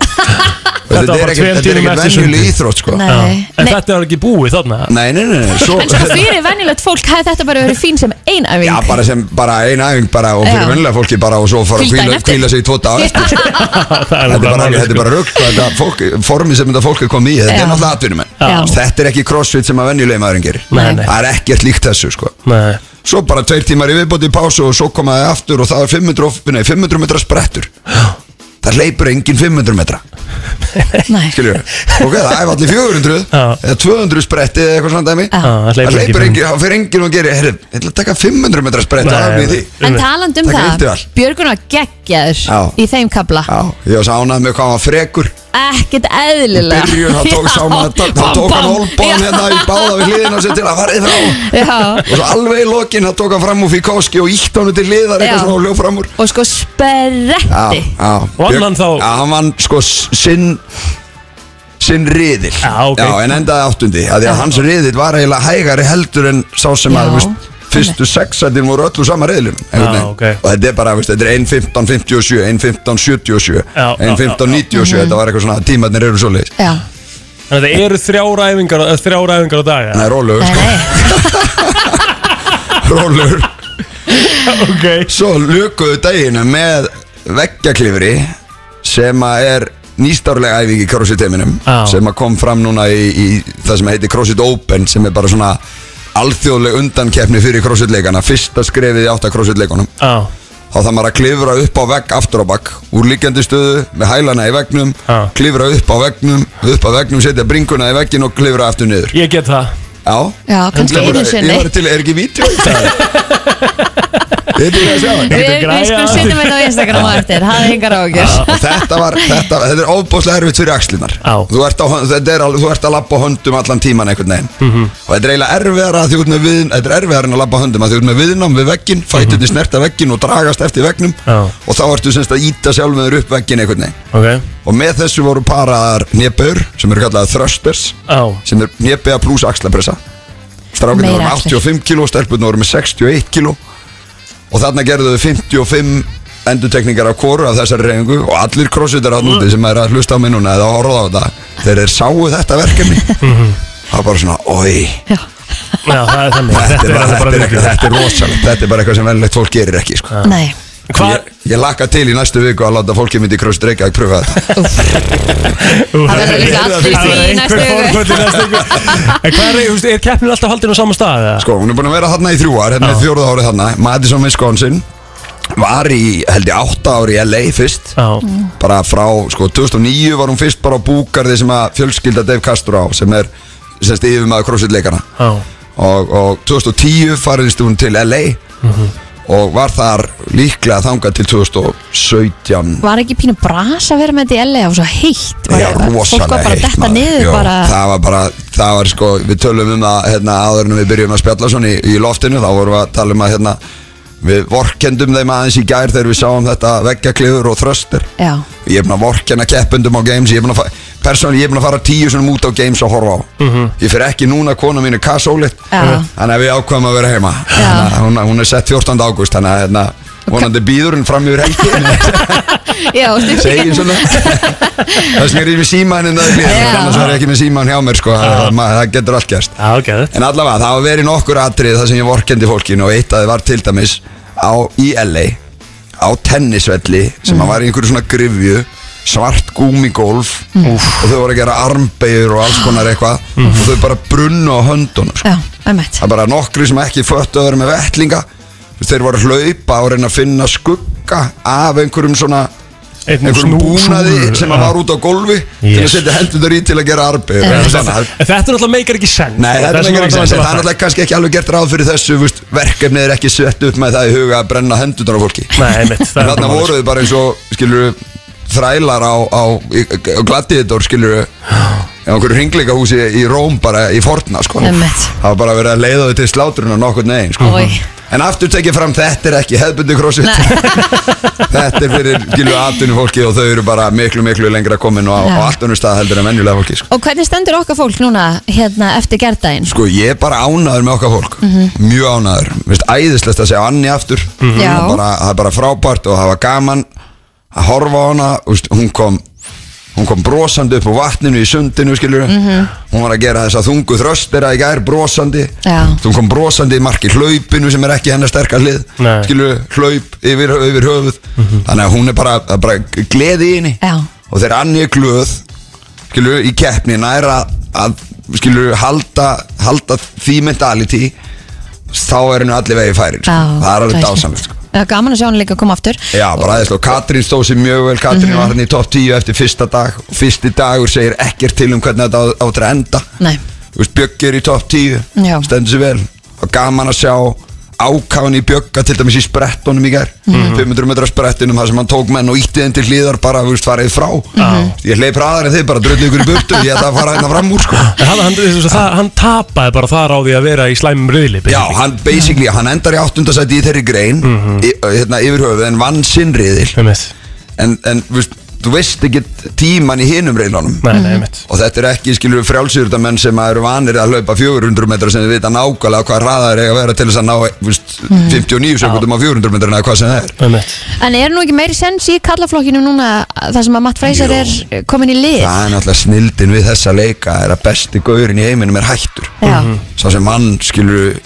Speaker 4: Þetta
Speaker 5: þetta
Speaker 4: var
Speaker 5: er
Speaker 4: bara tveim
Speaker 5: ekkert þetta er
Speaker 4: tímum
Speaker 5: ekkert
Speaker 4: eftir
Speaker 5: venjuleg
Speaker 4: sundið.
Speaker 5: íþrótt sko.
Speaker 3: Nei.
Speaker 5: nei,
Speaker 4: já. En
Speaker 3: Nei.
Speaker 4: þetta var ekki búið þarna
Speaker 5: nei, nei, nei. Svo, <laughs>
Speaker 3: En sko fyrir venjulegt fólk hefði þetta bara verið fín sem ein æfing
Speaker 5: já, bara sem bara ein æfing bara og fyrir
Speaker 3: Já.
Speaker 5: vennilega fólki bara og svo fara að
Speaker 3: Hvíldu
Speaker 5: hvíla,
Speaker 3: daginn eftir.
Speaker 5: hvíla sig í tvo daga eftir <laughs>
Speaker 4: Þetta
Speaker 5: Þetta er bara, þetta er bara rugg, þetta fólk, formið sem þetta fólk er komið í, þetta
Speaker 3: Já.
Speaker 5: er náttúrulega atvinnumenn.
Speaker 3: Já.
Speaker 5: Þetta er ekki crossfit sem að venjuleg maðurinn gerir.
Speaker 4: Nei, nei.
Speaker 5: Það er ekkert líkt þessu, sko.
Speaker 4: Nei,
Speaker 5: Svo bara tveir tímar í viðbóti í pásu og svo koma þið aftur og það er 500, of- nei, 500 metra sprettur. Það hleypur engin 500 metra,
Speaker 3: Nei.
Speaker 5: skiljur. Ok, það er allir 400,
Speaker 4: Já.
Speaker 5: eða 200 spretti eða eitthvað svona dæmi.
Speaker 3: Já.
Speaker 4: það
Speaker 5: Það
Speaker 4: hleypur
Speaker 5: hleypur
Speaker 4: enginn.
Speaker 5: engin, það fyrir engin og gerir, herru, ég ætla að taka 500 metra sprett,
Speaker 4: Nei,
Speaker 5: það er
Speaker 4: nei.
Speaker 5: með því.
Speaker 3: En taland um
Speaker 5: Takk eitt
Speaker 3: það,
Speaker 5: í all.
Speaker 3: Björgun var geggjaður
Speaker 5: Já.
Speaker 3: í þeim kabla
Speaker 5: Já, ég var sánað með hvað hann var frekur.
Speaker 3: Ekkert eðlilega
Speaker 5: byrjun, þá tók
Speaker 3: Já.
Speaker 5: Sáma þá
Speaker 3: Bam,
Speaker 5: tók hann
Speaker 3: bam.
Speaker 5: holbán
Speaker 3: Já.
Speaker 5: hérna í báða við hliðina sér til að farið frá
Speaker 3: Já.
Speaker 5: og svo alveg í lokin þá tók hann fram úr Fikoski og ítt hann til hliðar
Speaker 3: Já.
Speaker 5: eitthvað svona og hljóf fram úr
Speaker 3: Og sko sperretti
Speaker 5: já,
Speaker 4: Vann
Speaker 5: Björn-
Speaker 4: hann þá?
Speaker 5: Já, hann vann sko s- sinn sinn riðil
Speaker 4: Já, ok.
Speaker 5: en endaði áttundi af því að hans riðil var eiginlega hægari heldur en sá sem
Speaker 3: Já.
Speaker 5: að veist, fyrstu sexættin voru öllu sama riðilum einhvern veginn.
Speaker 4: ok.
Speaker 5: og þetta er bara, veist, þetta er 1.15.57 1.15.77
Speaker 4: Já, já, já, já.
Speaker 5: 1.15.97 þetta var eitthvað svona, tímarnir eru svo
Speaker 3: Já,
Speaker 4: Þannig að það eru þrjár æfingar, eh, þrjár æfingar á dag
Speaker 5: Nei, rólegur
Speaker 3: nei,
Speaker 5: sko,
Speaker 3: nei
Speaker 5: <laughs> rólegur
Speaker 4: Ok
Speaker 5: Svo lukuðu dagina með veggjaklifri sem að er nýstárlega æfing í crossfit-heiminum
Speaker 4: Já.
Speaker 5: sem að kom fram núna í, í það sem heitir crossfit open sem er bara svona alþjóðleg undankeppni fyrir crossfit-leikana fyrsta skrefið í átta crossfit-leikunum
Speaker 4: Já,
Speaker 5: þá þarf maður að klifra upp á vegg aftur á bakk úr líkjandi stöðu með hælana í veggnum
Speaker 4: Já.
Speaker 5: klifra upp á veggnum upp á veggnum, setja bringuna í veggin og klifra aftur niður
Speaker 4: ég get það
Speaker 5: Já,
Speaker 3: Já, kannski
Speaker 5: Ég var-
Speaker 3: einu sinni.
Speaker 5: Ég var til, er ekki
Speaker 3: <laughs>
Speaker 5: vídeo í það? Þið er búin að sjá það
Speaker 3: Við,
Speaker 4: Þetta er græja.
Speaker 3: við skulum setja þetta á Instagram á eftir Það er engar ágjör
Speaker 5: Og Þetta var, þetta, þetta er ofbóðslega erfitt fyrir axlinar
Speaker 4: Já.
Speaker 5: Þú ert, á, þetta er, al- þú ert að labba á höndum allan tíman einhvern veginn Og þetta er eiginlega erfiðara að því út með viðin Þetta er erfiðara en að labba á höndum að því út með viðnám við veggin Fætið mm snerta veggin og dragast eftir veggnum
Speaker 4: Já.
Speaker 5: Og þá ertu semst að íta sjálfur upp veggin einhvern veginn
Speaker 4: Ok
Speaker 5: Og með þessu voru paraðar nébör sem eru kallaðar thrusters
Speaker 4: Já,
Speaker 5: sem er nébega pluss axlapressa strákinu voru
Speaker 3: Meira
Speaker 5: með
Speaker 3: axlir.
Speaker 5: 85 kg stelpurnu voru með 61 kg og þarna gerðu þau 55 endutekningar af koru af þessari reyningu og allir crossfitar hann úti sem er að hlusta á mig núna eða horfa á þetta þegar þeir sáu þetta verkefni það var bara svona, oi
Speaker 4: já, það er þannig
Speaker 5: þetta er bara, þetta er,
Speaker 4: mikið.
Speaker 5: eitthvað- þetta er rosalegt þetta er bara eitthvað sem velilegt fólk gerir ekki sko.
Speaker 3: Nei,
Speaker 4: Hvar,
Speaker 5: ég, ég lakka til í næstu viku að láta fólki myndi crossfit reykja að pröfa þetta
Speaker 3: það verður líka allir
Speaker 5: Það
Speaker 4: Það er
Speaker 3: því í
Speaker 4: einhver
Speaker 3: næstu viku.
Speaker 4: fórkvöld í næstu viku En hvað er, þú veist, er keppnin alltaf haldin á sama stað? eða?
Speaker 5: Sko, hún er búin að vera þarna í þrjú ár, hérna er fjórða árið þarna Madison, Wisconsin Var í, held ég, átta ári í LA fyrst
Speaker 4: Já,
Speaker 5: Bara frá, sko, 2009 var hún fyrst bara á búkarði sem að fjölskylda Dave Castro á sem er, sem stífum maður crossfit leikana
Speaker 4: já,
Speaker 5: og, og 2010 fariðist hún til LA og var þar líklega þangað til 2017
Speaker 3: Var ekki pínu bras að vera með þetta í LA og svo heitt var,
Speaker 5: Já,
Speaker 3: Fólk var
Speaker 5: rosalega
Speaker 3: bara að
Speaker 5: heitt,
Speaker 3: detta
Speaker 5: maður.
Speaker 3: niður
Speaker 5: Já,
Speaker 3: bara
Speaker 5: Það var bara, það var sko, við tölum um það hérna, áður en við byrjum að spjalla svona í, í loftinu þá vorum við að tala um að hérna, við vorkendum þeim aðeins í gær þegar við sáum þetta veggjaklifur og þröstir
Speaker 3: Já,
Speaker 5: ég er búin að vorkenna keppendum á games ég er búin að, persónlega ég er búin að fara tíu svona út á games að horfa á ég fyrir ekki núna kona mínu kassólit
Speaker 3: Já.
Speaker 5: þannig að við ákvæmum að vera heima Þannig að hún, hún er sett 14. ágúst þannig að hérna, vonandi býður hún fram yfir
Speaker 3: <laughs>
Speaker 5: helgi
Speaker 3: já stundum-
Speaker 5: segir svona þess vegna er ég með síman en öðru
Speaker 3: Já.
Speaker 5: annars var ég ekki með síman hjá mér sko, það, maður- það getur allt gerst
Speaker 4: já, geðið
Speaker 5: en allavega það hafa verið nokkur atrið það sem ég vorkendi fólkinu og eitt að það var til dæmis á í LA á tennisvelli sem mm. var í einhverju svona grifju svart gúmigolf og þau voru að gera armbegur og alls konar eitthvað og þau bara brunnu á höndunum sko.
Speaker 3: Já, einmitt
Speaker 5: Það er bara nokkri sem ekki föttu að vera með vettlinga Þeir voru að hlaupa og reyna að finna skugga af einhverjum svona
Speaker 4: Einhverjum
Speaker 5: einhverjum
Speaker 4: snú-
Speaker 5: búnaði
Speaker 4: snúru,
Speaker 5: sem
Speaker 4: já.
Speaker 5: að Eh, var út á gólfi til
Speaker 4: Yes.
Speaker 5: að setja hendunar í til að gera arbið
Speaker 4: En þetta er alltaf meikar ekki sens
Speaker 5: Nei, þetta er
Speaker 4: Þess vegna
Speaker 5: ekki ekki sens, en
Speaker 4: alltaf-
Speaker 5: það er alltaf kannski ekki alveg gert ráð fyrir þessu veist, verkefni er ekki sett upp með það í huga að brenna hendunar á fólki
Speaker 4: Nei, einmitt, það
Speaker 5: En
Speaker 4: er
Speaker 5: þarna
Speaker 4: bara
Speaker 5: voru þau bara eins og, skilur þrælar á, á, á gladiðitor, skilur á einhverju hringleikahúsi í Róm bara í forna, sko
Speaker 3: Einmitt.
Speaker 5: Það var bara verið að leiða þau til slátrunar nokkur negin, sko
Speaker 3: Oj.
Speaker 5: En aftur tekið fram, þetta er ekki hefðbundi crossfit <laughs> Þetta er fyrir gilu atvinni fólki og þau eru bara miklu, miklu lengra komin og á,
Speaker 3: Já.
Speaker 5: á allt önnur stað heldur en venjulega fólki sko.
Speaker 3: Og hvernig stendur okkar fólk núna hérna eftir gerdaginn?
Speaker 5: sko, ég er bara ánaður með okkar fólk
Speaker 3: Mhm.
Speaker 5: Mjög ánaður, veist, æðislegt að segja Anni aftur
Speaker 3: Já.
Speaker 5: Það er bara, það er bara frábært og það var gaman að horfa á hana, veist, hún kom hún kom brosandi upp á vatninu í sundinu skilur,
Speaker 3: Mhm.
Speaker 5: hún var að gera þess að þungu þröstera í gær brosandi
Speaker 3: Já.
Speaker 5: hún kom brosandi í marki hlaupinu sem er ekki hennar sterka hlið
Speaker 4: Nei.
Speaker 5: skilur, hlaup yfir, yfir höfuð þannig að hún er bara, það er bara gleði í henni
Speaker 3: Já.
Speaker 5: og þegar Anni er glöð skilur, í keppni næra að, skilur, halda, halda því mentality þá er henni allir vegi færir sko.
Speaker 3: Já,
Speaker 5: það er alveg
Speaker 3: glæsilegt.
Speaker 5: dásamlega sko.
Speaker 3: Já, gaman að sjá hann líka að koma aftur
Speaker 5: Já, bara aðeins og Katrín stóð sér mjög vel Katrín var hann í topp 10 eftir fyrsta dag Fyrsti dagur segir ekkert til um hvernig þetta á- áttur að enda
Speaker 3: Nei,
Speaker 5: Þú veist, Bjögg er í topp 10
Speaker 3: Já.
Speaker 5: Stendur sér vel Og gaman að sjá ákáin í Bjögga Til dæmis í sprettunum í gær 500 metra sprettinum þar sem hann tók menn og ítti þeim til hlýðar Bara, þú veist, farið frá Ég hleyp hraðar en þið bara drullu ykkur í burtu Ég ætla að fara hérna fram úr sko
Speaker 4: En hann, hann, þessu, það, hann tapaði bara þar á því að vera í slæmum rauðli
Speaker 5: Já, hann basically, hann endar í áttundasæti í þeirri grein mm hérna, yfir höfuð en vann sinnriðil
Speaker 4: Einmitt.
Speaker 5: en, en þú veist, þú veist ekki tíman í hinum reynunum
Speaker 4: Nei, nei, einmitt
Speaker 5: og þetta er ekki skilur frjálsýrðamenn sem að eru vanir að hlaupa 400 metra sem við vita nákvæmlega hvað hraðar eiga að vera til þess að ná þú veist,
Speaker 3: Mm.
Speaker 5: 59 sekundum á 400 metra eða hvað sem það er
Speaker 4: Einmitt.
Speaker 3: en er nú ekki meiri sens í kallaflokkinu núna þar sem að Matt Freyser
Speaker 5: Jú.
Speaker 3: er eh, komin í lið
Speaker 5: það er náttúrulega snildin við þessa leika er að besti gaurin í heiminum er hættur
Speaker 3: Já,
Speaker 5: svo sem hann skilur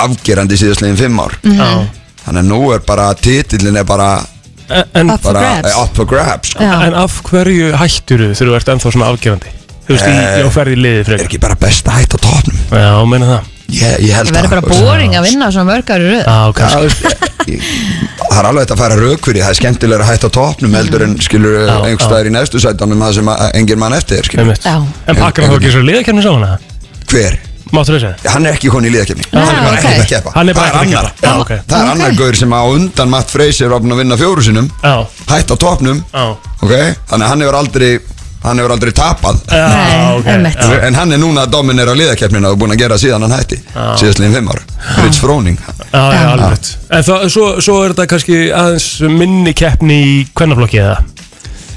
Speaker 5: afgerandi síðastlegin 5 ár
Speaker 3: Mm.
Speaker 4: Já.
Speaker 5: þannig að nú er bara titillin er bara,
Speaker 4: En, en,
Speaker 3: Up for
Speaker 5: bara
Speaker 3: grabs.
Speaker 5: eh, up for grabs sko.
Speaker 3: Já.
Speaker 4: en af hverju hættur þú þegar þú ert ennþá svona afgerandi? Þú veist, í,
Speaker 5: Eh,
Speaker 4: í áferði liðið
Speaker 5: er
Speaker 4: frekar
Speaker 5: ekki bara best að hætta á topnum
Speaker 4: Já, meina það
Speaker 5: ég, ég held sko.
Speaker 3: það verður bara boring að vinna á svona mörgar
Speaker 4: Já,
Speaker 3: röð
Speaker 5: Já,
Speaker 4: kannski
Speaker 5: þú veist, ég- það er alveg hægt að fara rauk fyrir það er skemmtilega að hætta á topnum heldur en skilur
Speaker 4: Já,
Speaker 5: einhver staðar í neðstu sætanum það sem að- engin mann eftir skilur.
Speaker 4: Einmitt
Speaker 3: Já.
Speaker 4: En pakkar hann þá ekki svo liðakenni sá hana?
Speaker 5: hver?
Speaker 4: Máttu þess að?
Speaker 5: hann er ekki hún í liðakefni hann er bara
Speaker 3: ok.
Speaker 5: ekki að keppa
Speaker 4: Hann er bara
Speaker 5: það
Speaker 4: ekki að
Speaker 5: er annar,
Speaker 4: keppa. Já, ok.
Speaker 5: það er
Speaker 3: Ok.
Speaker 5: annar gaur sem á undan Matt Freyser opna að vinna fjóru sinum
Speaker 4: Já,
Speaker 5: hætta á topnum
Speaker 4: já
Speaker 5: okay? þannig að hann hefur aldrei hann hefur aldrei tapað
Speaker 4: Já,
Speaker 3: Nei,
Speaker 4: ok,
Speaker 3: einmitt.
Speaker 4: já.
Speaker 5: en hann er núna að dominera liðakefnina og búin að gera síðan hann hætti síðastlegin fimm ára Fritz Fróning
Speaker 4: Já, já,
Speaker 3: Já.
Speaker 4: alveg rétt En það, svo, svo er þetta kannski aðeins minni keppni í kvennaflokki eða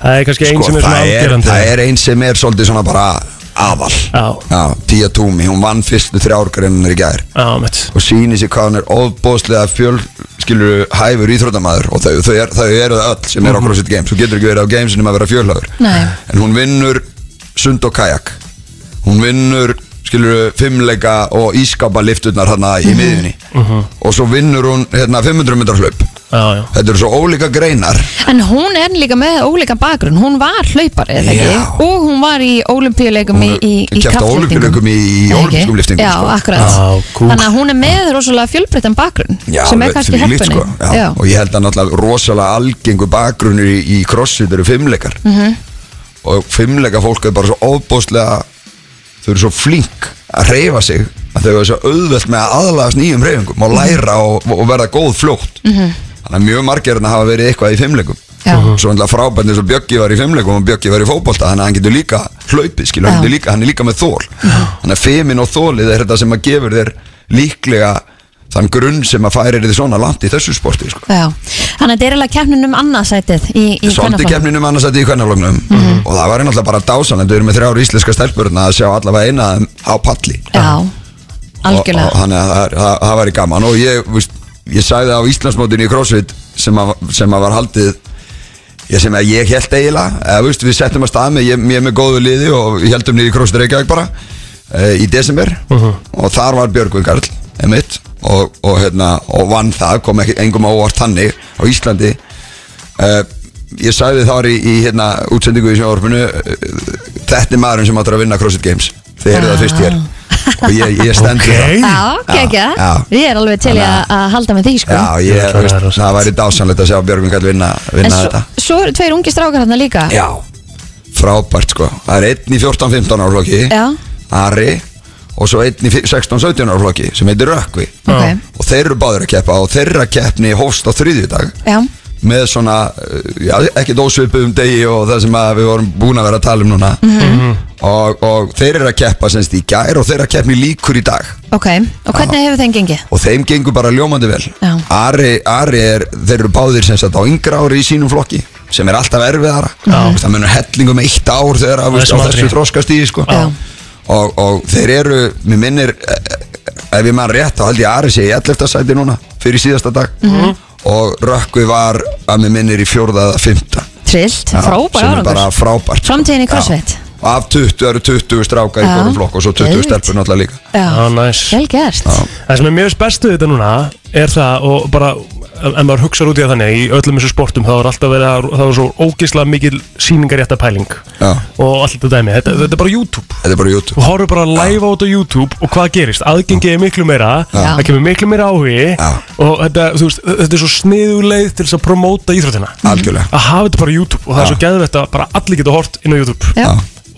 Speaker 4: Það er kannski einn
Speaker 5: sko,
Speaker 4: sem er svona
Speaker 5: það, er,
Speaker 4: afgerandi
Speaker 5: það er einn sem er svolítið svona bara aðal
Speaker 4: Já.
Speaker 5: Pía Túmi, hún vann fyrstu þrjárgrinnar í gær
Speaker 4: Já, mitt
Speaker 5: og sýnir sér hvað hann er ofbóðslega fjöl skilur hæfur íþrótamaður og þau, þau, er, þau eru það öll sem er
Speaker 4: Mhm.
Speaker 5: á CrossFit Games þú getur ekki verið á Games nema að vera fjölhæfur
Speaker 3: Nei.
Speaker 5: en hún vinnur sund og kajak hún vinnur skilur fimmleika og ískapa lifturnar hérna í miðinni
Speaker 4: Mhm.
Speaker 5: og svo vinnur hún hérna 500 metrar hlaup
Speaker 4: Já, já
Speaker 5: þetta eru svo ólíka greinar
Speaker 3: En hún er líka með ólíkan bakgrunn Hún var hlaupari, eða ekki?
Speaker 5: Já.
Speaker 3: Og hún var í ólimpíuleikum í, í, í
Speaker 5: Keppt á
Speaker 3: kraftlyftingum.
Speaker 5: ólympíuleikum
Speaker 3: Eða
Speaker 5: í- í
Speaker 3: ekki?
Speaker 5: ólympískum lyftingum,
Speaker 3: Já,
Speaker 5: sko.
Speaker 3: akkurat
Speaker 4: Já, kúl.
Speaker 3: Þannig að hún er með rosalega fjölbreyttan bakgrunn sem er
Speaker 5: alveg
Speaker 3: kannski
Speaker 5: þvílíkt,
Speaker 3: heppinni
Speaker 5: sko. já.
Speaker 3: Já.
Speaker 5: og ég held að náttúrulega rosalega algengu bakgrunir í, í crossfit eru fimmleikar
Speaker 3: Mhm.
Speaker 5: -hmm. og fimmleika fólk er bara svo ofbóðslega þau eru svo flink að reyfa sig að þau eru svo auðvelt með að aðlagast nýjum reyfingum
Speaker 3: Mhm.
Speaker 5: og læra og, og verða góð fljótt -hmm. þannig að mjög margirna hafa verið eitthvað í fimmleikum
Speaker 3: Já.
Speaker 5: svo náttúrulega frábænt eins og Bjöggi var í fimmleikum og Bjöggi var í fótbolta þannig að hann getur líka hlaupið skilur, hann,
Speaker 3: Já.
Speaker 5: getur líka, hann er líka með þól þannig að femin og þólið er þetta sem að gefur þér líklega þann grunn sem að færir þið svona langt í þessu sporti sko.
Speaker 3: Já, þannig að þetta er eiginlega keppnin um annarsætið í, í
Speaker 5: Svolítið
Speaker 3: kvennaflokk.
Speaker 5: kemninum annars að í kvennafloknum og það var náttúrulega bara dásan en þau eru með þrjár íslenska stelpurna að sjá allavega eina af þeim á palli
Speaker 3: Já,
Speaker 5: um og, og
Speaker 3: algjörlega
Speaker 5: þannig að það, er- það, það væri gaman og ég, víst, ég sagði á Íslandsmótinu í CrossFit sem að, sem að var haldið ég sem að ég held eiginlega eða, víst, við settum að stað með, ég, ég er með góðu liði og við heldum niður í CrossFit Reykjavík bara e, í desember og þar var Björgvin Karl emitt, og, og, hérna, og vann það kom ekki engum á óvart þannig á Íslandi Eh, ég sagði þar í, í hérna, útsendingu í sjónvarpinu eh, þetta er maðurinn sem áttur að vinna CrossFit Games þið eru
Speaker 3: Ah.
Speaker 5: það fyrst hér og ég, ég stend við
Speaker 4: Ok.
Speaker 5: það
Speaker 3: Já, gegja,
Speaker 5: já.
Speaker 3: ég er alveg til í að, að halda með því sko
Speaker 5: Já, ég,
Speaker 4: Ég ætla að
Speaker 5: veist,
Speaker 4: það er rosalegt.
Speaker 5: það væri dásanlegt að sjá Björgvin Kall vinna,
Speaker 3: En
Speaker 5: vinna
Speaker 3: svo,
Speaker 5: þetta
Speaker 3: svo eru tveir ungi strákar hann líka
Speaker 5: Já, frábært sko Það er einn í 14-15 árflokki
Speaker 3: Já.
Speaker 5: Ari og svo einn í fi- 16-17 árflokki sem heitir Rökkvi
Speaker 3: Ok.
Speaker 5: og þeir eru báður að keppa og þeirra keppni hófst á þriðjudag
Speaker 3: Já.
Speaker 5: með
Speaker 3: Mhm.
Speaker 4: Mhm.
Speaker 5: svona, uh, já, ekkert ósvipuðum degi og það sem að við vorum búin að vera að tala um núna og, og þeir eru að keppa semst í gær og þeir eru að keppa í líkur í dag
Speaker 3: Ok, og hvernig hefur þeim gengið?
Speaker 5: og þeim gengur bara ljómandi vel
Speaker 3: Já.
Speaker 5: Ari, Ari er, þeir eru báðir sem sagt á yngra ári í sínum flokki sem er alltaf erfiðara Já. það munur hellingum eitt ár þegar að,
Speaker 4: er
Speaker 5: veist, á
Speaker 4: sem aldrei.
Speaker 5: þessu þroskast í sko.
Speaker 3: Já.
Speaker 5: og, og þeir eru, mér minnir eh, ef ég maður rétt þá held ég að Ari sé í 11. sæti núna fyrir síðasta dag
Speaker 3: Mhm.
Speaker 5: og Rökkvi var að mér minnir í fjórða eða fymta
Speaker 3: Trillt, frábær
Speaker 5: sem er bara
Speaker 3: árangur
Speaker 5: frábært sko.
Speaker 3: Framtíðin í
Speaker 5: Já.
Speaker 3: CrossFit.
Speaker 5: og af 20 eru 20 strákar í
Speaker 3: Já.
Speaker 5: hvorum flokk og svo 20
Speaker 3: Geðveikt.
Speaker 5: stelpur náttúrulega líka
Speaker 4: Já,
Speaker 3: Já,
Speaker 4: næs
Speaker 3: vel gert
Speaker 4: Það sem er mjög bestu við þetta núna er það og bara ef maður hugsaður út í það þannig í öllum þessu sportum þá er alltaf verið að það er svo ógislega mikil síningarétta pæling
Speaker 5: Já.
Speaker 4: og allt þetta dæmi, þetta, þetta er bara YouTube
Speaker 5: þetta er bara YouTube
Speaker 4: þú horfur bara live át á YouTube og hvað gerist aðgengi er miklu meira,
Speaker 3: Já.
Speaker 4: það kemur miklu meira áhugi
Speaker 5: Já.
Speaker 4: og þetta, þú veist, þetta er svo sniðuleið til þess að promóta íþróttina
Speaker 5: Algjörlega.
Speaker 4: að hafa þetta bara á YouTube og það er
Speaker 5: Já.
Speaker 4: svo geðvett að bara allir geta hort inn á YouTube
Speaker 3: Já.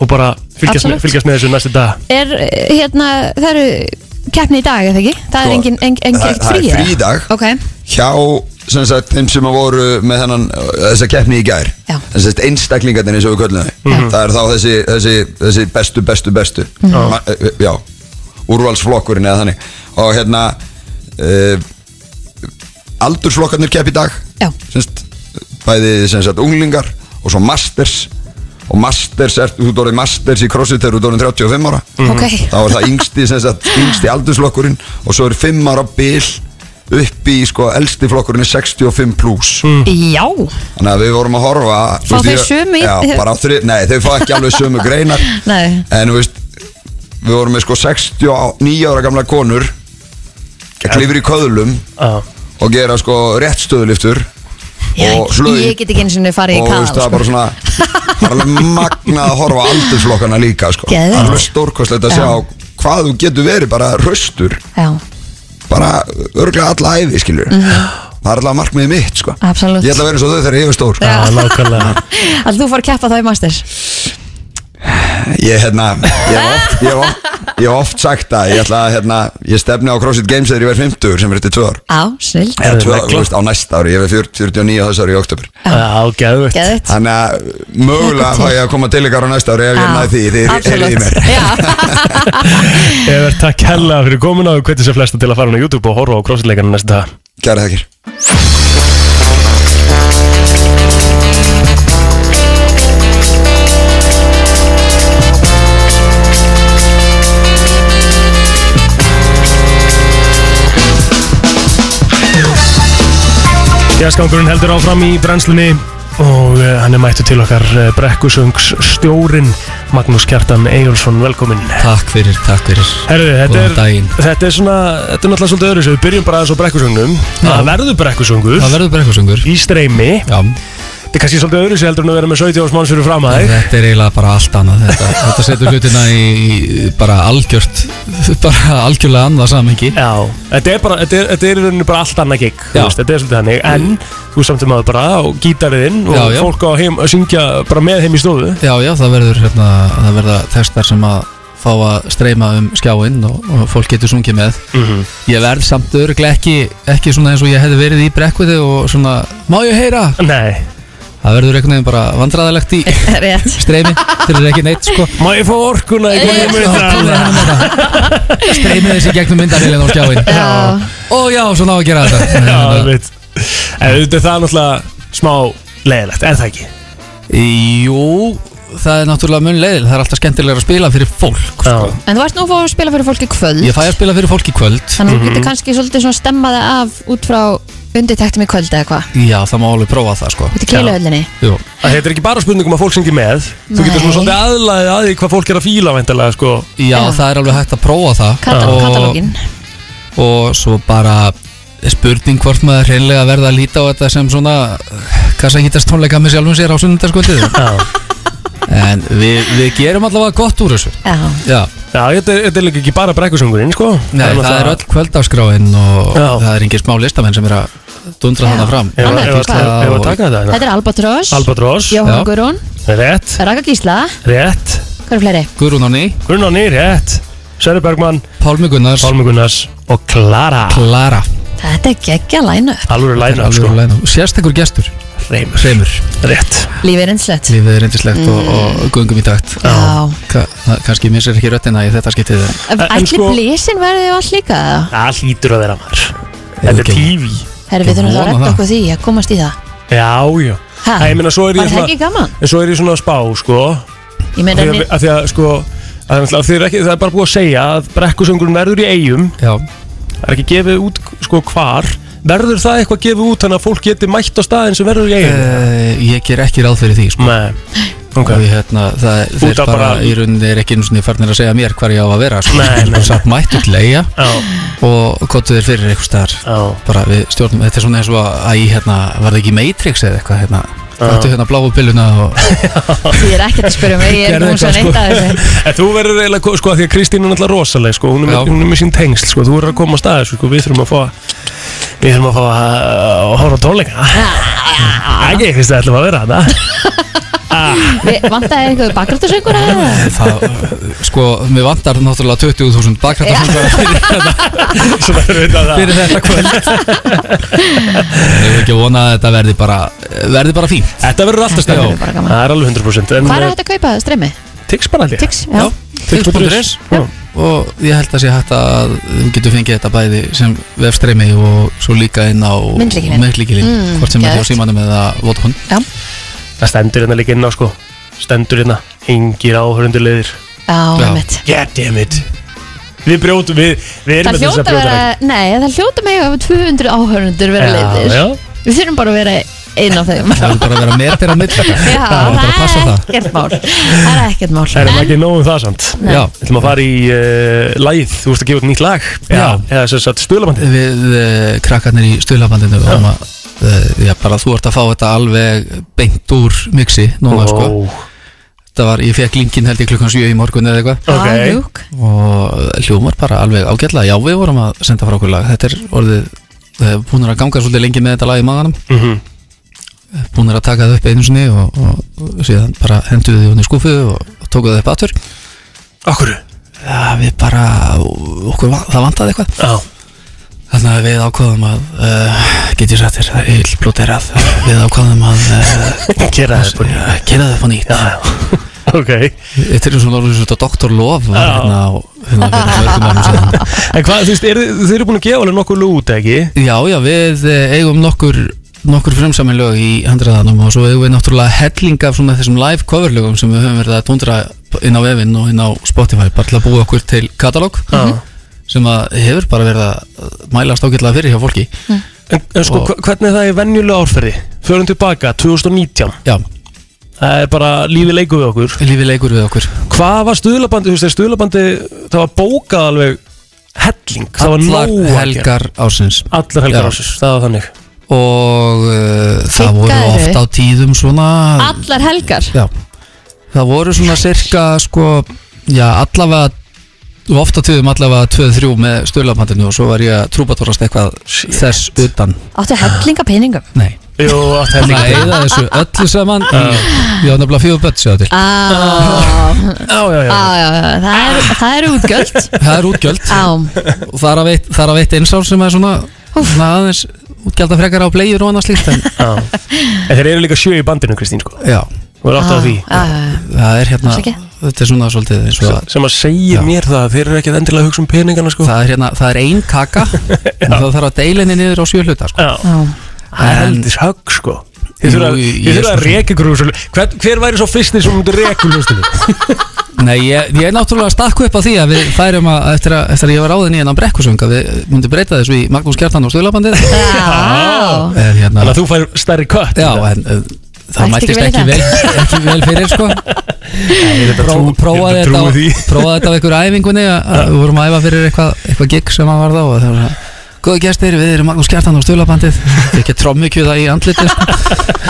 Speaker 4: og bara fylgjast
Speaker 3: Absolutt.
Speaker 4: með, fylgjast með þessu næstu dag
Speaker 3: Er, eh, hérna, það eru keppni í dag, eða ekki? Það er
Speaker 5: Sko,
Speaker 3: engin, engin, engin, engin
Speaker 5: það- það er
Speaker 3: frí eða?
Speaker 5: frí í dag.
Speaker 3: Ok,
Speaker 5: hjá sem sagt, þeim sem að voru með hennan, þessa keppni í gær
Speaker 3: Já.
Speaker 5: Sem sagt, einstaklingarnir eins og við köllum þau það er þá þessi, þessi, þessi bestu, bestu, bestu Ma, eh, já, úrvalsflokkurinn eða þannig og hérna uh, aldursflokkarnir kepp í dag
Speaker 3: Já.
Speaker 5: Sem sagt, bæði sem sagt, unglingar og svo masters og masters, er, þú ert orðið masters í crossfit þegar þú ert orðin 35 ára
Speaker 3: Ok.
Speaker 5: Mhm. þá er það yngsti, sem sagt, yngsti aldurslokkurinn og svo er 5 ára bil upp í sko elsti flokkurinn er 65 pluss
Speaker 6: Mm.
Speaker 3: já
Speaker 5: þannig að við vorum að horfa
Speaker 3: Mm.
Speaker 5: þú
Speaker 3: Fá þau
Speaker 5: veist, ég-
Speaker 3: sömu í-
Speaker 5: já, bara á þri, nei þau fá ekki alveg
Speaker 3: <laughs>
Speaker 5: sömu greinar
Speaker 3: Nei.
Speaker 5: en þú veist við vorum með sko 69 ára gamla konur að klifur í köðlum
Speaker 4: Já.
Speaker 5: og gera sko réttstöðuliftur og slöði
Speaker 3: Ég get ekki eins og farið í sko.
Speaker 5: og þú
Speaker 3: kaðal
Speaker 5: veist það er bara svona það er alveg magnað að horfa á aldursflokkana líka sko.
Speaker 3: Geðveikt.
Speaker 5: alveg stórkostlegt að
Speaker 3: Já.
Speaker 5: sjá hvað þú getur verið bara raustur
Speaker 3: Já,
Speaker 5: bara örglega alla æfi skilur það er alltaf markmiðið mitt sko.
Speaker 3: Mhm. Absolutt.
Speaker 5: ég ætla að vera eins og þau þegar ég er stór sko.
Speaker 3: Já.
Speaker 4: Já, nákvæmlega
Speaker 3: að þú fór að keppa þá í master
Speaker 5: ég, hérna, ég, hef oft, ég, hef oft, ég hef oft sagt að ég, ætla, að, hérna, ég stefni á CrossFit Games þegar ég verð 50 sem er þetta tvö ár
Speaker 3: Á, snill
Speaker 5: Eða
Speaker 4: Er
Speaker 5: tvö,
Speaker 4: það
Speaker 5: þú veist, á næsta ári, ég er 49 á þessu ári í oktober
Speaker 4: Já, geðvett
Speaker 3: Geðvitt
Speaker 5: Þannig að mögulega fæ ég að koma til ykkar á næsta ári ef ég næði því, þið er í mér
Speaker 4: Evert, takk hella fyrir komin á hvernig sem flesta til að fara hann á YouTube og horfa á crossfitleikana næsta dag
Speaker 5: Kæra þakkir
Speaker 4: Gæskangurinn heldur áfram í brennslunni og uh, hann er mættu til okkar uh, brekkusöngs stjórin Magnús Kjartan Eyjólfsson, velkomin
Speaker 6: Takk fyrir, takk fyrir
Speaker 4: Herðu, þetta
Speaker 6: Góðan
Speaker 4: er,
Speaker 6: daginn.
Speaker 4: þetta er svona, þetta er náttúrulega svolítið öðru við byrjum bara aðeins á brekkusögnum það verður brekkusöngur
Speaker 6: Það verður bara eitthvað sungur
Speaker 4: í streymi
Speaker 6: Já,
Speaker 4: þetta er kannski svolítið öðru heldur en að vera með 70 árs manns fyrir fram að þig
Speaker 6: þetta er eiginlega bara allt annað Þetta, þetta setur hlutina í, í bara algjört bara algjörlega annað samhengi
Speaker 4: Já, þetta er bara, þetta er, þetta er í rauninni bara allt annað gig þú
Speaker 6: Já. Mm.
Speaker 4: veist, þetta er svolítið þannig, en þú samt um að bara á gítariðinn og
Speaker 6: Já, já.
Speaker 4: fólk á heim að syngja bara með heim í stóðu
Speaker 6: Já, já, það verður hérna, það verða testar sem að fá að streyma um skjáinn og, og fólk getur sungið með
Speaker 4: Mhm.
Speaker 6: Ég verð samt örglega ekki, ekki svona eins og ég hefði verið í brekkviti og svona, má ég heyra?
Speaker 4: Nei,
Speaker 6: Það verður einhvern veginn bara vandræðalegt í
Speaker 3: <laughs> Rétt
Speaker 6: streymi, þeir eru ekki neitt sko
Speaker 4: má ég fá orkuna í hverju myndir
Speaker 6: Streymið þessi gegnum myndarvélina og skjáinn
Speaker 3: Já,
Speaker 6: Ó já, svo ná að gera þetta Hérna,
Speaker 4: Já,
Speaker 6: Þannig
Speaker 4: það
Speaker 6: að-
Speaker 4: veit En auðvitað það er náttúrulega smá leiðilegt, er það ekki?
Speaker 6: Jú, það er náttúrulega mun leiðil Það er alltaf skemmtilega að spila fyrir fólk sko.
Speaker 4: Já,
Speaker 3: en þú ert nú að fá að spila fyrir fólki í kvöld
Speaker 6: Ég fæ Mhm. að spila fyrir fólk í kvöld
Speaker 3: Þannig að þú getur kannski svolítið svona stemmaði af út frá undirtektum í kvöld eða hvað
Speaker 6: Já, það má alveg prófa það sko
Speaker 3: Út í keiluhöllinni
Speaker 6: Jú.
Speaker 4: að þetta er ekki bara spurningum að fólk syngi með Þú getur svona
Speaker 3: Nei.
Speaker 4: svolítið aðlaðið að því hvað fólk er að fíla væntanlega, sko
Speaker 6: Já,
Speaker 3: Já.
Speaker 6: það er alveg hægt að prófa það
Speaker 3: Katal
Speaker 6: Og-
Speaker 3: Katalógin
Speaker 6: Og svo bara spurning hvort maður hreinlega verða að líta á þetta sem svona Kassa hýtast tónleika með sjálfum sér á sunnundarskvöldið
Speaker 4: Já,
Speaker 6: En við, við gerum allavega gott úr þessu
Speaker 3: Já,
Speaker 6: Já,
Speaker 4: Já þetta, er, þetta er líka ekki bara brekkusöngurinn, sko
Speaker 6: Nei, það, er öll kvöldaskráin og
Speaker 4: Já.
Speaker 6: það er engin smá listamenn sem er að dundra þarna fram
Speaker 4: Ef að- ef að-
Speaker 6: Gísla
Speaker 4: ef að
Speaker 6: og-
Speaker 4: taka þetta hérna.
Speaker 3: þetta er Albatross
Speaker 4: Albatross,
Speaker 6: Já.
Speaker 3: Jóhann Guðrún
Speaker 4: rétt,
Speaker 3: Raka Gísla
Speaker 4: rétt
Speaker 3: Hvað er fleiri?
Speaker 6: Guðrún Árný,
Speaker 4: Gunnarni, rétt Sverri Bergmann,
Speaker 6: Pálmi Gunnars,
Speaker 4: Pálmi Gunnars og Klara
Speaker 6: Klara
Speaker 3: Þetta er geggja læna
Speaker 4: Alvöru læna,
Speaker 6: Alveg
Speaker 4: sko
Speaker 6: læna. Sérstakur gestur,
Speaker 4: Reymur,
Speaker 6: Hreimur
Speaker 4: rétt
Speaker 3: Lífið er einslegt
Speaker 6: Lífið er reyndislegt og, og gungum í takt
Speaker 3: Já.
Speaker 6: Ka það- Kannski missir ekki röttina í þetta skiptið
Speaker 4: en
Speaker 3: Ætli sko...
Speaker 4: sko-
Speaker 3: blísin verði allt líka eða?
Speaker 4: Það hlýtur að vera maður Þetta er
Speaker 6: ekki-
Speaker 4: TV
Speaker 3: Herri, við
Speaker 6: Ég
Speaker 3: þurfum þá að
Speaker 6: vona
Speaker 3: redda
Speaker 6: það.
Speaker 3: okkur því að komast í það
Speaker 4: Já, já
Speaker 3: Ha?
Speaker 4: Það, ég meina, svo er
Speaker 3: Ah. Var
Speaker 4: ég
Speaker 3: það ekki gaman?
Speaker 4: En svo er ég svona að spá, sko
Speaker 3: Ég meina,
Speaker 4: Þegar, að því að, sko að, náttúrulega, þeir eru ekki, Það er bara búið að segja að brekkusöngurinn verður í eigum
Speaker 6: Já,
Speaker 4: Það er ekki gefið út, sko, hvar Verður það eitthvað gefið út Þannig að fólk geti mætt á staðin sem verður í eigum
Speaker 6: uh, ég ger ekki ráð fyrir því sko.
Speaker 4: Nei, ok
Speaker 6: okay. hérna, það, Þeir
Speaker 4: af
Speaker 6: bara,
Speaker 4: bara-
Speaker 6: í rauninni er ekki einu sinni farnir að segja mér hvar ég á að vera sko.
Speaker 4: Nei, nei, nei.
Speaker 6: Satt mættu til <laughs> eiga
Speaker 4: Já,
Speaker 6: og kottu þeir fyrir eitthvað staðar
Speaker 4: já,
Speaker 6: bara við stjórnum, þetta er svona eins og að æ, hérna, var það ekki Matrix eða eitthvað hérna, hættu hérna bláu pilluna og
Speaker 3: því er ekkert að spyrja um mig Ég er
Speaker 4: Gerðu
Speaker 3: nú svo
Speaker 4: eitthvað, sko.
Speaker 3: neitt að þessu
Speaker 4: En þú verður eiginlega, ko- sko, af því að Kristín er náttúrulega rosaleg, sko, hún er,
Speaker 6: Já.
Speaker 4: með, hún er með sín tengsl, sko, þú verður að koma að staði, sko, við þurfum að fá, við þurfum að fá að að horfa á tónleika. Ekki, ég finnst það ætlum að vera
Speaker 3: <laughs>
Speaker 4: þetta.
Speaker 3: Við- Vantaði eitthvað bakgrættasöngur að
Speaker 4: <laughs>
Speaker 3: það?
Speaker 6: það, sko, mér vantar náttúrulega 20.000 bakrættar fyrir,
Speaker 4: Svo verður við þetta
Speaker 6: fyrir þetta
Speaker 3: <laughs>
Speaker 6: kvöld ég er ekki að vona að þetta verði bara verði bara fínt
Speaker 4: Þetta verður alltaf
Speaker 3: Þetta
Speaker 4: stefnir.
Speaker 3: verður bara gaman.
Speaker 4: Það er alveg 100%. En,
Speaker 3: Hvað er þetta að kaupa streymi?
Speaker 4: þetta? Tix bara held ég.
Speaker 3: Tix? Já,
Speaker 6: Tix.is. og ég held að sé hægt að þú getur fengið þetta bæði sem vefstreymi og svo líka inn á
Speaker 3: Myndlykilinn.
Speaker 6: myndlíkilinn,
Speaker 3: Mm,
Speaker 6: hvort sem er hjá
Speaker 3: geðvegt.
Speaker 6: símanum eða Vodafone
Speaker 3: já,
Speaker 4: Það stendur hérna líka inn á, sko, stendur hérna, hengir áhörundulegir.
Speaker 3: já,
Speaker 6: Já.
Speaker 3: einmitt
Speaker 4: God damn it. Við brjótum, við, við erum með
Speaker 3: Það
Speaker 4: þessa
Speaker 3: hljóta vera,
Speaker 4: brjótareglu.
Speaker 3: nei, það hljóta mig að 200 áhörundur vera leiðir
Speaker 4: Já, já.
Speaker 3: Við þurfum bara að vera einn af
Speaker 6: <laughs>
Speaker 3: þeim
Speaker 6: það er bara að vera metir á mitt
Speaker 3: Já,
Speaker 6: það er bara að passa
Speaker 3: það er
Speaker 6: það
Speaker 3: ekkert mál Það er ekkert mál
Speaker 4: Það erum
Speaker 3: En-
Speaker 4: ekki nóg um það samt.
Speaker 3: Nei.
Speaker 6: Já,
Speaker 4: Við ætlum að fara í uh, læð, þú vorst að gefa út nýtt lag
Speaker 6: Já.
Speaker 4: Eða sem sagt stöðlabandið
Speaker 6: við uh, krakkarnir í stuðlabandinu um að, uh, já, bara þú ert að fá þetta alveg beint úr mixi núna sko þetta var, ég fekk linkin held ég klukkan 7 í morgun eða eitthvað
Speaker 4: ok.
Speaker 3: Já, ljúk.
Speaker 6: og hljómar bara alveg ágætlega já við vorum að senda frá okkur lag þetta er orðið, uh, búin að ganga svolítið lengi með þetta lag í maganum
Speaker 4: mm -hmm.
Speaker 6: búin að taka það upp einu sinni og, og, og síðan bara henduðu því hún í skúfu og, og tóku það upp aftur
Speaker 4: Okkur
Speaker 6: já, við bara, okkur, va- það vantaði eitthvað
Speaker 4: Já,
Speaker 6: Þannig að við ákvaðum að uh, get ég sagt þér, ég vil blótera að við ákvaðum að uh,
Speaker 4: gera það sko
Speaker 6: uh, gera það upp á nýtt
Speaker 4: Já, já Ok,
Speaker 6: Þetta er svona orðið svona doktor Lof var
Speaker 4: Já.
Speaker 6: hérna á hérna fyrir mörgum árum síðan
Speaker 4: en hvað, þú veist, eru- þið eru búin að gefa alveg nokkuð lút, ekki?
Speaker 6: Já, já, við eh, eigum nokkur nokkur frumsamin lög í handraðanum og svo eigum við náttúrulega helling af svona þessum live cover lögum sem við höfum verið að tundra inn á vefinn og inn á Spotify bara til að búa okkur til katalóg sem að hefur bara verið að mælast ágætlega fyrir hjá fólki
Speaker 4: En, en sko,
Speaker 6: Og-
Speaker 4: hva- hvernig er það er venjulega árferði? Förum tilbaka, 2019
Speaker 6: Já,
Speaker 4: Það er bara lífið leiku við okkur
Speaker 6: lífið leikur við okkur
Speaker 4: Hvað var stöðlabandið, þú veist, þegar stöðlabandið Það var bókað alveg helling Það var
Speaker 6: Allar
Speaker 4: nóg að gera.
Speaker 6: helgar ársins
Speaker 4: Allar helgar
Speaker 6: Já.
Speaker 4: ásins, það var þannig
Speaker 6: og uh, það
Speaker 3: Sigga
Speaker 6: voru
Speaker 3: eru.
Speaker 6: oft á tíðum svona
Speaker 3: Allar helgar
Speaker 6: já, það voru svona cirka sko, já allavega og oft á tíðum allavega 2-3 með stöðlapandinu og svo var ég að trúbatorast eitthvað þess utan
Speaker 3: Áttu hellinga peningum
Speaker 6: nei,
Speaker 4: Jú, allt
Speaker 6: þannig að
Speaker 4: helgar
Speaker 6: eigða þessu öllu saman í, ég var nefnilega fjóðu börn sér til
Speaker 3: Ah. Á,
Speaker 4: Já, já, já
Speaker 3: á, Ah, já, já, það er-
Speaker 4: Ah.
Speaker 3: það eru útgjöld
Speaker 6: það er útgjöld
Speaker 3: Á,
Speaker 6: og það er að veit, það er að veit einsál sem er svona, svona aðeins útgjaldar frekar á bleiður og annað slíkt en,
Speaker 4: Já. En þeir eru líka sjö í bandinu, Kristín, sko
Speaker 6: já,
Speaker 4: Þú er átt á því
Speaker 3: á, já, já.
Speaker 6: það er hérna
Speaker 3: Afsakið.
Speaker 6: þetta er svona svolítið eins og að
Speaker 4: sko, Sem að segja
Speaker 6: Já.
Speaker 4: mér það að þeir eru ekki að endilega að hugsa um peningana, sko
Speaker 6: það er, hérna, það er ein kaka en það þarf að deila henni niður á sjö hluta sko.
Speaker 4: Já,
Speaker 3: Á.
Speaker 4: það er heldis högg, sko Þið þurfa
Speaker 6: Jú, ég-
Speaker 4: þið
Speaker 6: ég
Speaker 4: þurfa að
Speaker 6: sko-
Speaker 4: reka ykkur úr svo- hver, hver væri svo fyrsti sem myndi reka úr <laughs> hlustinu?
Speaker 6: Nei, ég, ég er náttúrulega stakku upp á því að við færum að eftir að, eftir að ég var áðin í hennan brekkusöng að við myndum breyta þessu í Magnús Kjartan og Stöðlabandið
Speaker 3: Já.
Speaker 4: Ah.
Speaker 6: en hérna
Speaker 4: Þannig að þú fær stærri kött
Speaker 6: já, en, en,
Speaker 3: Mælti
Speaker 6: það mæltist
Speaker 3: ekki
Speaker 6: ekki
Speaker 3: vel í
Speaker 6: vel, ekki vel fyrir sko Pró, prófaði þetta á- <laughs> prófaði þetta á einhverju æfingunni að- að við vorum að æfa fyrir eitthvað eitthva gig sem að var þá og það var að Góðu gestir, við erum Magnús Kjartan og Stöðlabandið Þetta er ekki trommikjöða í andliti sko.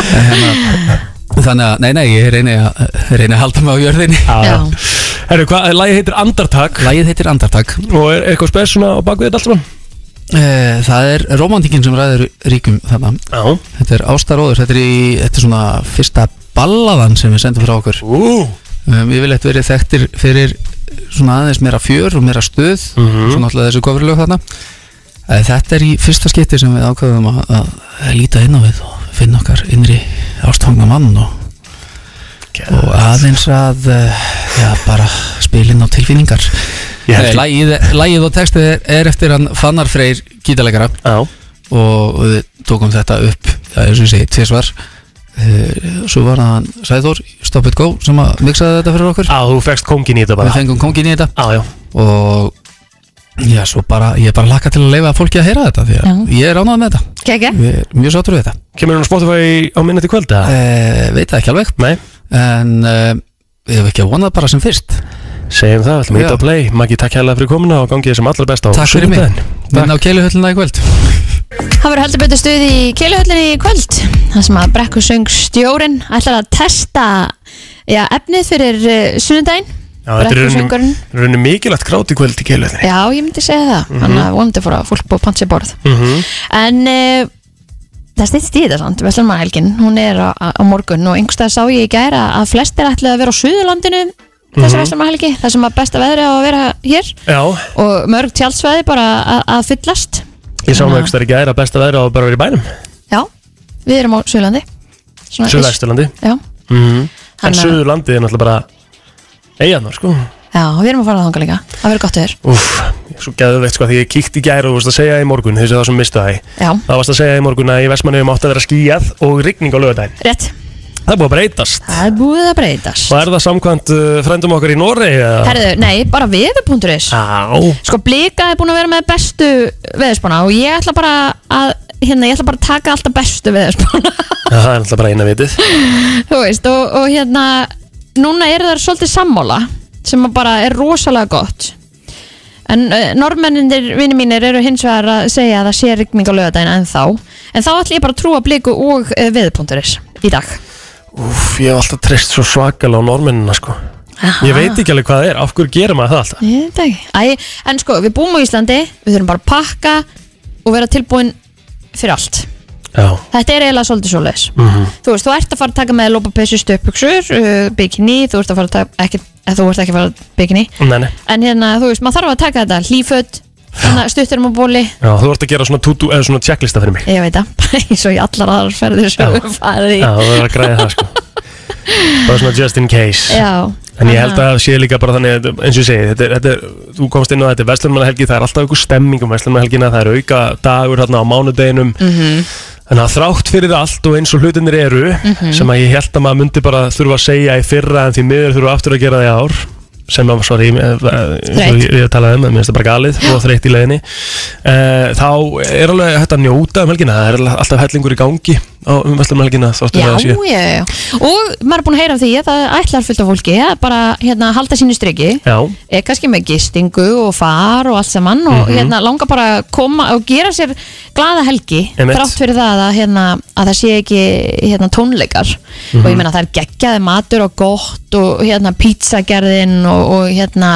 Speaker 6: En hérna, Þannig að, nei, nei, ég reyni að, reyni að halda mig á jörðinni
Speaker 3: Já.
Speaker 4: Herru, hvað, lagi heitir Andartak
Speaker 6: Lægið heitir Andartak
Speaker 4: Og er eitthvað spes svona á bakvið þetta allt saman?
Speaker 6: Eh, Það er romantikinn sem ræður ríkum þarna
Speaker 4: Já
Speaker 6: Þetta er ástaróður, þetta er, í, þetta er svona fyrsta ballaðan sem við sendum frá okkur
Speaker 4: Ú,
Speaker 6: um, Ég vil eitthvað verið þekktir fyrir svona aðeins meira fjör og meira stuð
Speaker 4: Mhm.
Speaker 6: Svona alltaf þessu kofurlög þarna Eh, Þetta er í fyrsta skipti sem við ákveðum að, að líta inn á við og finna okkar innri ástfangna mann og og aðeins að eh, já, bara spilin á tilfinningar
Speaker 4: Ég held
Speaker 6: Nei,
Speaker 4: ég-
Speaker 6: lagið, lagið og textið er, er eftir hann Fannar Freyr gítalegara
Speaker 4: Já,
Speaker 6: og við tókum þetta upp það er sem ég segi, tvisvar Eh, svo var það hann Sæþór Stop It Go sem að mixaði þetta fyrir okkur
Speaker 4: á, þú fegst kongin í þetta
Speaker 6: við
Speaker 4: Ah, bara Ah.
Speaker 6: fengum kongin í þetta
Speaker 4: Já, já,
Speaker 6: og já, svo bara, ég er bara laka til að leifa fólki að heyra þetta því að
Speaker 3: Já.
Speaker 6: ég er ánægð með þetta
Speaker 3: Kekja
Speaker 6: við erum mjög sáttur við þetta
Speaker 4: kemur hún á Spotify á minnet í kvöld eða?
Speaker 6: e, veit það ekki alveg
Speaker 4: Nei,
Speaker 6: en uh, ég hef ekki að vona það bara sem fyrst
Speaker 4: segjum það, ætlum við
Speaker 6: Já.
Speaker 4: að play Maggi, takk hérlega fyrir komuna og gangi þessum allra best á
Speaker 6: takk fyrir mig,
Speaker 4: sunnudaginn.
Speaker 6: minn á keiluhöllina í kvöld
Speaker 3: Það verður heldur betur stuð í keiluhöllinni í kvöld Það sem að brekku söng stjórin ætlar að testa já, efnið fyrir uh, sunnudaginn
Speaker 4: Já, þetta er í rauninni-
Speaker 3: Brekkusöngurinn.
Speaker 4: rauninni mikilvægt grát í kvöld í keiluðinni
Speaker 3: Já, ég myndi segja það Þannig
Speaker 4: Mhm.
Speaker 3: að vonandi fór að fólk búið að panta sér borð
Speaker 4: mm -hmm.
Speaker 3: En uh, það stýttist í þetta samt Vestlunarmannahelgin, hún er á, á morgun og einhverstað sá ég í gæra að flestir ætlaði að vera á Suðurlandinu þessa
Speaker 4: Mhm.
Speaker 3: mm -hmm. Vestlunarmannahelgi, það sem að besta veðri á að vera hér
Speaker 4: Já,
Speaker 3: og mörg tjálsvæði bara að- að fyllast
Speaker 4: ég sá
Speaker 3: Já.
Speaker 4: mig ekki stær í gæra besta veðra og bara verið í bænum
Speaker 3: Já, við erum á Suðurlandi Svona ish.
Speaker 4: Suðlæsturlandi
Speaker 3: Já,
Speaker 4: Mhm. En
Speaker 3: Þannig að-
Speaker 4: Suðurlandið er náttúrulega bara Eigarnar sko
Speaker 3: já, við erum að fara þangað líka Það verður gott veður
Speaker 4: Úff, svo geðveikt sko Því ég kíkti í gæra og þú varst að segja í morgun Þessi það sem mistu það í
Speaker 3: Já,
Speaker 4: Það varst að segja í morgun að í Vestmanniðum átti að vera skíjað Og rigning á lögadaginn
Speaker 3: rétt
Speaker 4: Það er búið að breytast
Speaker 3: Það er búið að breytast
Speaker 4: Og er það samkvæmt uh, frændum okkar í Noregi? eða?
Speaker 3: Herðu, nei, bara viður.is
Speaker 4: Á,
Speaker 3: Sko, blika er búin að vera með bestu veðurspána og ég ætla bara að hérna, ég ætla bara að taka alltaf bestu veðurspána <laughs>
Speaker 4: Já, það er alltaf bara eina vitið
Speaker 3: þú veist, og, og hérna núna eru það svolítið sammála sem að bara er rosalega gott en uh, normennindir vinnir mínir eru hins vegar að segja að það sé rigning á lögadaginn en þá en þá ætla ég bara að trúa bliku og uh, veðurpunkturis í dag
Speaker 4: Úff, ég hef alltaf treyst svo svakalega á normennina sko Ég veit ekki alveg hvað það er, af hverju gerir maður það alltaf?
Speaker 3: Ég veit ekki. Æ, en sko, við búum á Íslandi við þurfum bara að pakka og vera tilbúin fyrir allt
Speaker 4: Já,
Speaker 3: Þetta er eiginlega svolítið svoleiðis
Speaker 4: Mhm.
Speaker 3: Þú veist, þú ert að fara að taka með lópapessu stöpuksur uh, bikini, þú ert að fara að taka ekki, eh, þú ert ekki að fara að bikini
Speaker 4: nei, nei
Speaker 3: en hérna, þú veist, maður þarf að taka þetta hlíföld, stutturum um á bóli
Speaker 4: Já, þú ert að gera svona tutu eða svona checklista fyrir mig
Speaker 3: ég veit það, <laughs> eins og í allar aðrar ferðir sem
Speaker 4: Já.
Speaker 3: við farið í
Speaker 4: Já, þú verður að græða það sko Bara svona just in case
Speaker 3: Já.
Speaker 4: En ég held að það sé líka bara þannig, að- eins og ég segi, þetta er, þetta er, þú komst inn á þetta Vestlunmannahelgi, það er alltaf einhver stemming um Vestlunmannahelgina, það er auka dagur hérna á mánudeginum
Speaker 3: Mhm.
Speaker 4: Þannig að þrátt fyrir allt og eins og hlutinir eru,
Speaker 3: Mhm.
Speaker 4: sem að ég held að maður myndi bara þurfa að segja í fyrra en því miður þurfa aftur að gera það í ár sem að, sorry, eh, eh, eins og
Speaker 3: Þreytt.
Speaker 4: ég, ég talaði um, að mér finnst það bara galið og þreytt í leiðinni uh, Þá er alveg hægt að njóta um helgina, það er alltaf hellingur í gangi á um Vestlunmannahelgina þáttu
Speaker 3: Já,
Speaker 4: það
Speaker 3: já,
Speaker 4: sé
Speaker 3: já, og maður er búin að heyra af því að það ætlar fullt af fólki að bara hérna, halda sínu stryki
Speaker 4: Já,
Speaker 3: er kannski með gistingu og far og allt saman og
Speaker 4: Mhm.
Speaker 3: hérna langar bara að koma og gera sér glaða helgi
Speaker 4: Einmitt.
Speaker 3: þrátt fyrir það að, hérna, að það sé ekki hérna, tónleikar og
Speaker 4: Mhm.
Speaker 3: ég meina það er geggjaði matur og gott og hérna pizzagerðin og, og hérna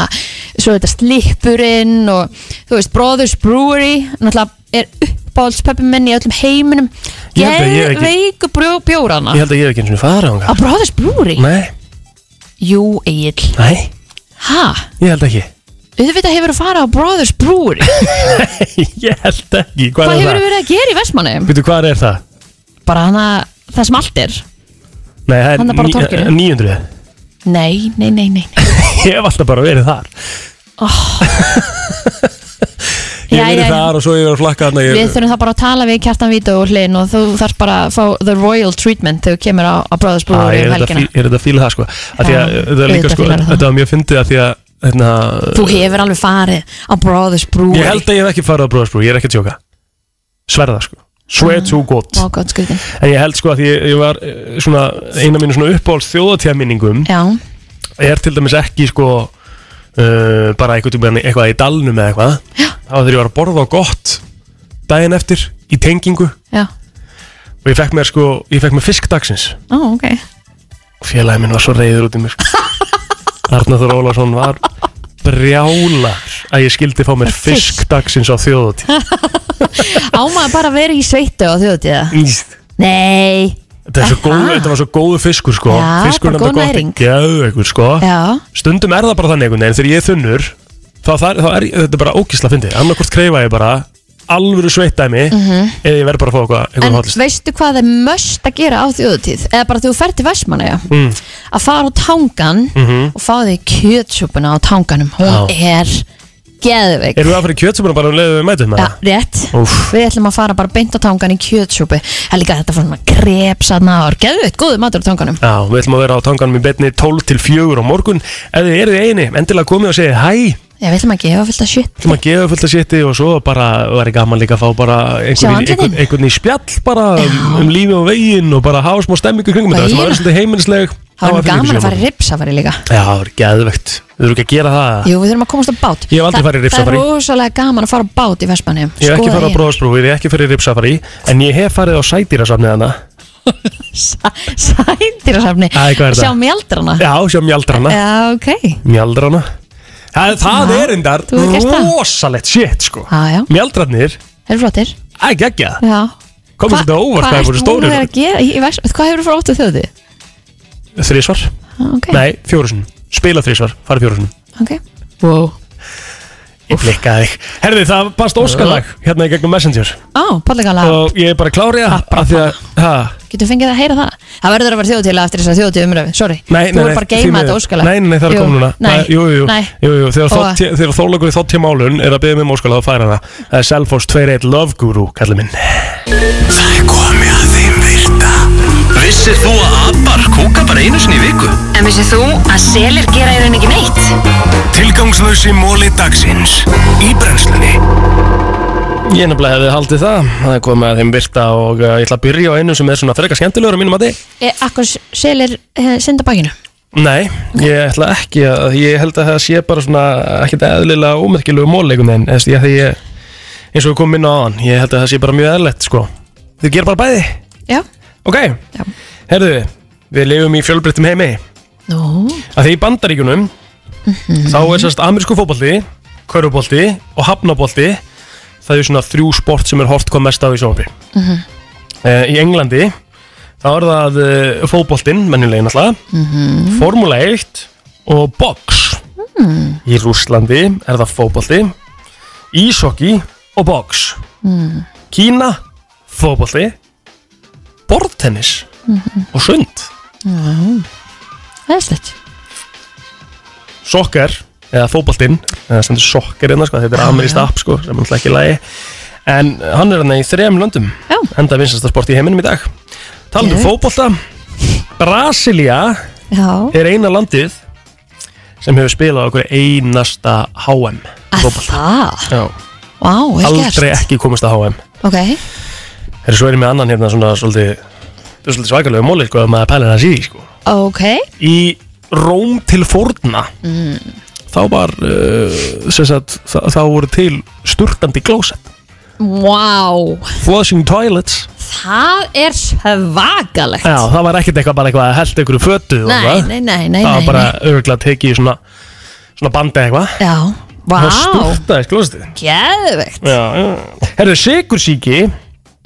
Speaker 3: svo þetta slippurinn og þú veist Brothers Brewery náttúrulega er uppáhaldspöppi minn í öllum heiminum
Speaker 4: Ég held að ég hef ekki-
Speaker 3: geðveiku brjó- bjórana
Speaker 4: ég held að ég hef ekki eins og fara á
Speaker 3: á Brothers Brewery?
Speaker 4: Nei,
Speaker 3: Jú, Egil
Speaker 4: nei,
Speaker 3: Ha?
Speaker 4: ég held ekki
Speaker 3: Auðvitað hefur að fara á Brothers Brewery
Speaker 4: <laughs> ég held ekki, hvað,
Speaker 3: Hvað
Speaker 4: er
Speaker 3: hefur
Speaker 4: það?
Speaker 3: verið að gera í Vestmannum?
Speaker 4: Býtu, hvað er það?
Speaker 3: Bara hana, það sem allt er
Speaker 4: Nei, það er
Speaker 3: Þarna bara á torginu.
Speaker 4: ní- 900
Speaker 3: Nei, nei, nei, nei
Speaker 4: <laughs> Ég hef alltaf bara verið þar <laughs> Ég
Speaker 3: Oh. Já,
Speaker 4: hef
Speaker 3: já,
Speaker 4: verið
Speaker 3: já.
Speaker 4: þar og svo ég verið að flakka þarna
Speaker 3: Við
Speaker 4: ég...
Speaker 3: þurfum það bara að tala við Kjartan Vítu og Hlinn og þú þarf bara að fá the royal treatment þegar þú kemur á, á Brothers
Speaker 4: Á,
Speaker 3: Brewery
Speaker 4: Ah, Ég
Speaker 3: um
Speaker 4: er þetta
Speaker 3: helgina
Speaker 4: fí- ég er þetta að fíla það sko að Því að
Speaker 3: Já,
Speaker 4: það er líka
Speaker 3: auðvitað
Speaker 4: sko,
Speaker 3: fílar það.
Speaker 4: þetta var mjög fyndið að því að hérna,
Speaker 3: Þú hefur alveg farið á Brothers Brewery
Speaker 4: Ég held að ég hef ekki farið á bróðarsbrú, ég er ekki að tjóka Sverða sko, swear to god
Speaker 3: Ó, gott skritin
Speaker 4: En ég held sko að því ég, ég var eh, svona, eina mínu svona uppáhalds þjóðatíðaminningum
Speaker 3: Já,
Speaker 4: er til dæmis ekki sko uh, bara einhvern tímann eitthvað í dalnum eða eitthvað þá þegar ég var að borða á gott daginn eftir í tengingu
Speaker 3: já,
Speaker 4: og ég fekk mér sko, ég fekk mér fisk dagsins
Speaker 3: ó, ok
Speaker 4: og félagi minn var svo reyður út í mér
Speaker 3: <laughs>
Speaker 4: sko. Arnaður Ólafsson var brjálar að ég skildi fá mér
Speaker 3: Fisk.
Speaker 4: fisk dagsins á þjóðatíð
Speaker 3: Á maður bara að vera í sveitu á þjóðtíða
Speaker 4: Íst.
Speaker 3: Nei,
Speaker 4: Þetta er svo
Speaker 3: Aha.
Speaker 4: góð, þetta var svo góðu fiskur sko
Speaker 3: Já,
Speaker 4: Fiskurinn
Speaker 3: bara
Speaker 4: er
Speaker 3: góð
Speaker 4: gott
Speaker 3: næring.
Speaker 4: geðveikur, sko
Speaker 3: já,
Speaker 4: Stundum er það bara þannig einhvern veginn Þegar ég er þunnur Þá, þar, þá er ég- þetta er bara ógísla fyndið Annarkvort kreifa ég bara alvöru sveittæmi eða ég verð bara að fá eitthvað, eitthvað
Speaker 3: Mhm. En
Speaker 4: hotlist
Speaker 3: veistu hvað er möst að gera á þjóðutíð? Eða bara þegar þú ferð til Vestmannaja
Speaker 4: Mm. Mhm.
Speaker 3: að fara á tangan og fá þig kjötsúpuna á tanganum hún er geðveik
Speaker 4: Erum við að fara í kjötsumuna bara um leiðu við mætum með
Speaker 3: Ja,
Speaker 4: það?
Speaker 3: rétt,
Speaker 4: Úff.
Speaker 3: við ætlum að fara bara beint á tangan í kjötsúpu Það er líka þetta fór svona grepsaðna og geðveitt, góðu matur á tanganum
Speaker 4: Já, við ætlum að vera á tanganum í betni 12 til 4 á morgun Ef þið eruð í eini, endilega komið og segið hæ Við
Speaker 3: Já, við ætlum að gefa fullt af shit
Speaker 4: ætlum að gefa fullt að sétti og svo bara væri gaman líka að fá bara
Speaker 3: Sjá
Speaker 4: einhvern, í-
Speaker 3: andlitin.
Speaker 4: einhvern, einhvern í spjall bara um, um lífi og veginn og bara hafa smá stemmingu kringum þetta sem
Speaker 3: Vegina.
Speaker 4: var svolítið heimilisleg
Speaker 3: Það var nú gaman að fara í
Speaker 4: Já,
Speaker 3: ripsafari líka
Speaker 4: það var geðvegt Við þurfum ekki að gera það
Speaker 3: Jú, við þurfum að komast á bát
Speaker 4: Ég hef aldrei
Speaker 3: Það-
Speaker 4: farið í ripsafari.
Speaker 3: Það er rosalega gaman að fara á bát í Sko Vestmanni
Speaker 4: Ég hef ekki farið á
Speaker 3: <laughs>
Speaker 4: bróðarsprú, ég hef ekki farið í ripsafari En ég hef farið á sædýrasafnið hana
Speaker 3: Sætirasafni
Speaker 4: Æ, hvað er
Speaker 3: Sjá
Speaker 4: það?
Speaker 3: mjaldrana
Speaker 4: Já, sjá mjaldrana
Speaker 3: Já, ok
Speaker 4: Mjaldrana Það, það
Speaker 3: Eh. Já,
Speaker 4: er endar
Speaker 3: þú hefur gert það.
Speaker 4: rosalegt shit sko
Speaker 3: Já, já,
Speaker 4: Mjaldrarnir,
Speaker 3: það eru flottir
Speaker 4: ekki ekki það
Speaker 3: Já
Speaker 4: Komum
Speaker 3: Hva-
Speaker 4: þetta á óvart, það
Speaker 3: ert
Speaker 4: voru
Speaker 3: þú
Speaker 4: stórir.
Speaker 3: að vera að gera í- í Vest- Hvað hefur þú frá óttu þjóði?
Speaker 4: Þrísvar,
Speaker 3: Ok,
Speaker 4: nei, fjórusun Spila þrísvar, fara fjórusun
Speaker 3: ok Wow
Speaker 4: Ég flikkaði þig Herði, það bast
Speaker 3: Eh.
Speaker 4: óskalag hérna í gegnum Messenger
Speaker 3: Á, pallegala,
Speaker 4: Og ég er bara klárið
Speaker 3: Ah,
Speaker 4: að því að ha,
Speaker 3: getur fengið að heyra það Það verður að vera þjóðtíð eftir þess að þjóðtíð umröfi, sorry
Speaker 4: Nei,
Speaker 3: Þú
Speaker 4: nei,
Speaker 3: er
Speaker 4: nei,
Speaker 3: bara að
Speaker 4: því
Speaker 3: geima
Speaker 4: miður.
Speaker 3: þetta óskala
Speaker 4: Nei, nei, nei, það er komið núna
Speaker 3: Nei,
Speaker 4: Það- Jú, jú,
Speaker 3: nei
Speaker 4: jú, jú Þegar
Speaker 3: Og-
Speaker 4: Þótt- þegar þólagur í þóttíma álun er að byggja mig um óskalag þá fær hana Það er Selfos 21 Love Guru, kallið minn
Speaker 1: Það er komið að þeim virta Vissir þú að abar kúka bara einu sinni í viku?
Speaker 2: En vissið þú að selir gera í raun ekki neitt?
Speaker 1: Tilgangslösi móli dagsins Í brennslunni
Speaker 4: Ég nefnilega hefði haldið það, það er komið að þeim virta og uh, ég ætla að byrja á einu sem er svona frekar skemmtilegur á mínum að þið.
Speaker 3: E, Akkur selir eh, synda bakinu
Speaker 4: Nei, ég ætla ekki að, ég held að það sé bara svona ekkert eðlilega ómerkilegu móleikun en eða því að ég, eins og við komum inn á aðan, ég held að það sé bara mjög eðlilegt sko. Þau gera bara bæði,
Speaker 3: Já,
Speaker 4: ok?
Speaker 3: Já.
Speaker 4: Herðu, við lifum í fjölbreyttum heimi,
Speaker 3: nú,
Speaker 4: að því í bandaríkunum, þá er sérst amerísku fótbolti, körubolti og hafnabolti, það eru svona þrjú sport sem er hort hvað mest á í sjónvarpi. Eh, Í Englandi, þá er það uh, fótboltin, mennilegin alltaf, Formúla 1 og box. Í Rúslandi er það fótbolti, ísokki og box. Kína, fótbolti, borðtennis og sund.
Speaker 3: það er slett
Speaker 4: Sokker eða fótboltinn eða sem þetta er sokker hérna sko, þetta er ameríst app sko, sem er náttúrulega ekki lægi en hann er hann í þrejum löndum
Speaker 3: Já.
Speaker 4: enda vinsasta sport í heiminum í dag talandi um
Speaker 3: Geðveikt.
Speaker 4: fótbolta Brasilia
Speaker 3: Já,
Speaker 4: er eina landið sem hefur spilað á okkur einasta HM
Speaker 3: að
Speaker 4: fótbolta.
Speaker 3: það
Speaker 4: Já,
Speaker 3: Vá, vel gert
Speaker 4: aldrei ekki komist að HM
Speaker 3: Ok,
Speaker 4: Þeir svo erum við annan hérna svona svolítið, þetta er svolítið svakalega móli sko, ef maður pælir hans í því sko
Speaker 3: ok
Speaker 4: í Róm til forna þá var uh, sem sagt, þá, þá voru til sturtandi klósett
Speaker 3: Wow,
Speaker 4: flushing toilets
Speaker 3: það er svakalegt
Speaker 4: já, það var ekkert eitthvað bara eitthvað að held einhverju fötu og
Speaker 3: Nei,
Speaker 4: eitthvað.
Speaker 3: nei, nei, nei,
Speaker 4: það
Speaker 3: nei,
Speaker 4: var bara
Speaker 3: nei.
Speaker 4: örgulega tekið í svona svona bandi eitthvað
Speaker 3: Já, vá,
Speaker 4: og sturtaði klósettið
Speaker 3: geðvegt
Speaker 4: já, já. herru, sigursíki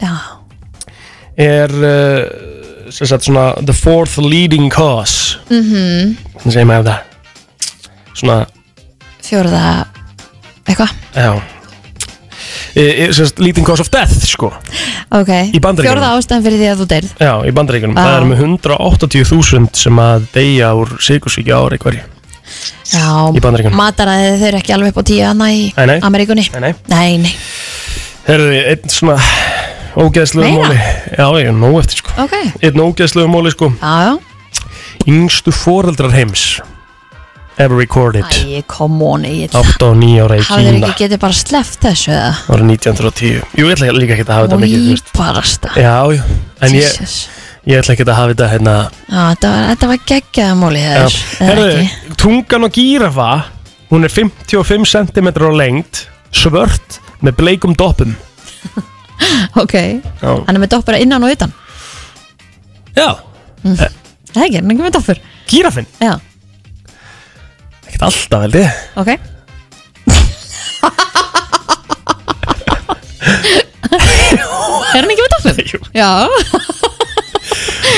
Speaker 3: Já,
Speaker 4: er uh, sem sagt svona the fourth leading cause mm
Speaker 3: Mhm.
Speaker 4: -hmm. þannig segir maður það svona
Speaker 3: fjórða Eitthvað,
Speaker 4: Já e, e, sérst, Leading cause of death sko
Speaker 3: ok
Speaker 4: Í Bandaríkjunum.
Speaker 3: Fjórða ástæðan fyrir því að þú deyrð
Speaker 4: Já, í bandaríkunum
Speaker 3: Já.
Speaker 4: Það er með 180.000 sem að deyja úr sigursvíki ári hverju Í
Speaker 3: Já,
Speaker 4: Bandaríkjunum.
Speaker 3: mataræði þau eru ekki alveg upp á tíu annað í
Speaker 4: Nei, nei.
Speaker 3: Ameríkunni
Speaker 4: Nei, nei
Speaker 3: Nei, nei,
Speaker 4: Herðu, einn svona ógeðslegu
Speaker 3: Meira?
Speaker 4: móli Já, ég er nóg eftir sko
Speaker 3: ok
Speaker 4: Einn ógeðslegu móli sko
Speaker 3: Já, já
Speaker 4: Yngstu foreldrar heims Ever recorded
Speaker 3: Æ, kom on, ég
Speaker 4: 8 og 9 ára í
Speaker 3: Hafið þeir
Speaker 4: Kína
Speaker 3: ekki getið bara sleppt þessu eða?
Speaker 4: Ára 1910 Jú, ég ætla líka ekki að hafa þetta mikið þú veist.
Speaker 3: Íbarasta
Speaker 4: Já, já En ég,
Speaker 3: Jesus
Speaker 4: ég ætla ekki að hafa þetta hérna
Speaker 3: Já, þetta var, þetta var geggjaða móli
Speaker 4: Já.
Speaker 3: þeir
Speaker 4: Herðu, tungan og gírafa Hún er 55 cm á lengt Svört með bleikum doppum
Speaker 3: Ok,
Speaker 4: Já,
Speaker 3: hann er með doppur innan og utan
Speaker 4: Já.
Speaker 3: Það er ekki, hann er ekki með doppur
Speaker 4: gírafinn
Speaker 3: Já,
Speaker 4: Ekkert alltaf veldi <laughs>
Speaker 3: ok Er hann ekki með doppur? Já,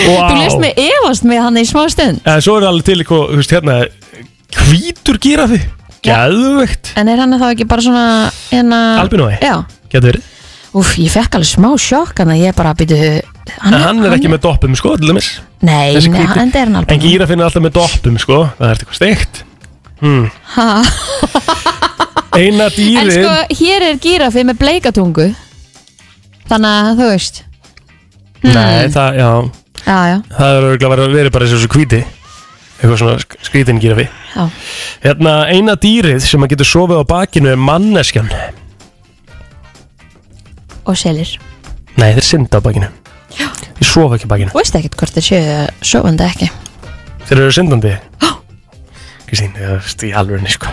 Speaker 4: wow.
Speaker 3: þú lest mig efast með hann í smá stund
Speaker 4: En svo er alveg til eitthvað, þú veist hérna Hvítur gírafi
Speaker 3: Já.
Speaker 4: Gæðvegt
Speaker 3: En er hann þá ekki bara svona hérna
Speaker 4: Albinói?
Speaker 3: Já,
Speaker 4: getur verið
Speaker 3: Úf, ég fekk alveg smá sjokk en ég bara byrju hann,
Speaker 4: En hann er ekki með doppum sko, til dæmis
Speaker 3: Nei,
Speaker 4: þessi
Speaker 3: nei,
Speaker 4: hvíti.
Speaker 3: hann er hann
Speaker 4: En
Speaker 3: alveg
Speaker 4: gíra finnir alltaf með doppum sko, það er eitthvað steikt
Speaker 3: Ha.
Speaker 4: Eina
Speaker 3: En
Speaker 4: dýrin
Speaker 3: sko, hér er gírafi með bleikatungu Þannig að þú veist
Speaker 4: Nei, það, já,
Speaker 3: Já, já,
Speaker 4: það er örgulega verið, verið bara eins og svo kvíti Eitthvað svona sk- skrítin gírafi
Speaker 3: já
Speaker 4: Hérna, eina dýrið sem að getur sofið á bakinu er manneskjan
Speaker 3: Og selir
Speaker 4: Nei, þeir synda á bakinu Þeir sofa ekki á bakinu
Speaker 3: Þú veist ekkert hvort þeir séu sofandi ekki
Speaker 4: Þeir eru syndandi Kristín, það veist í alveg sko.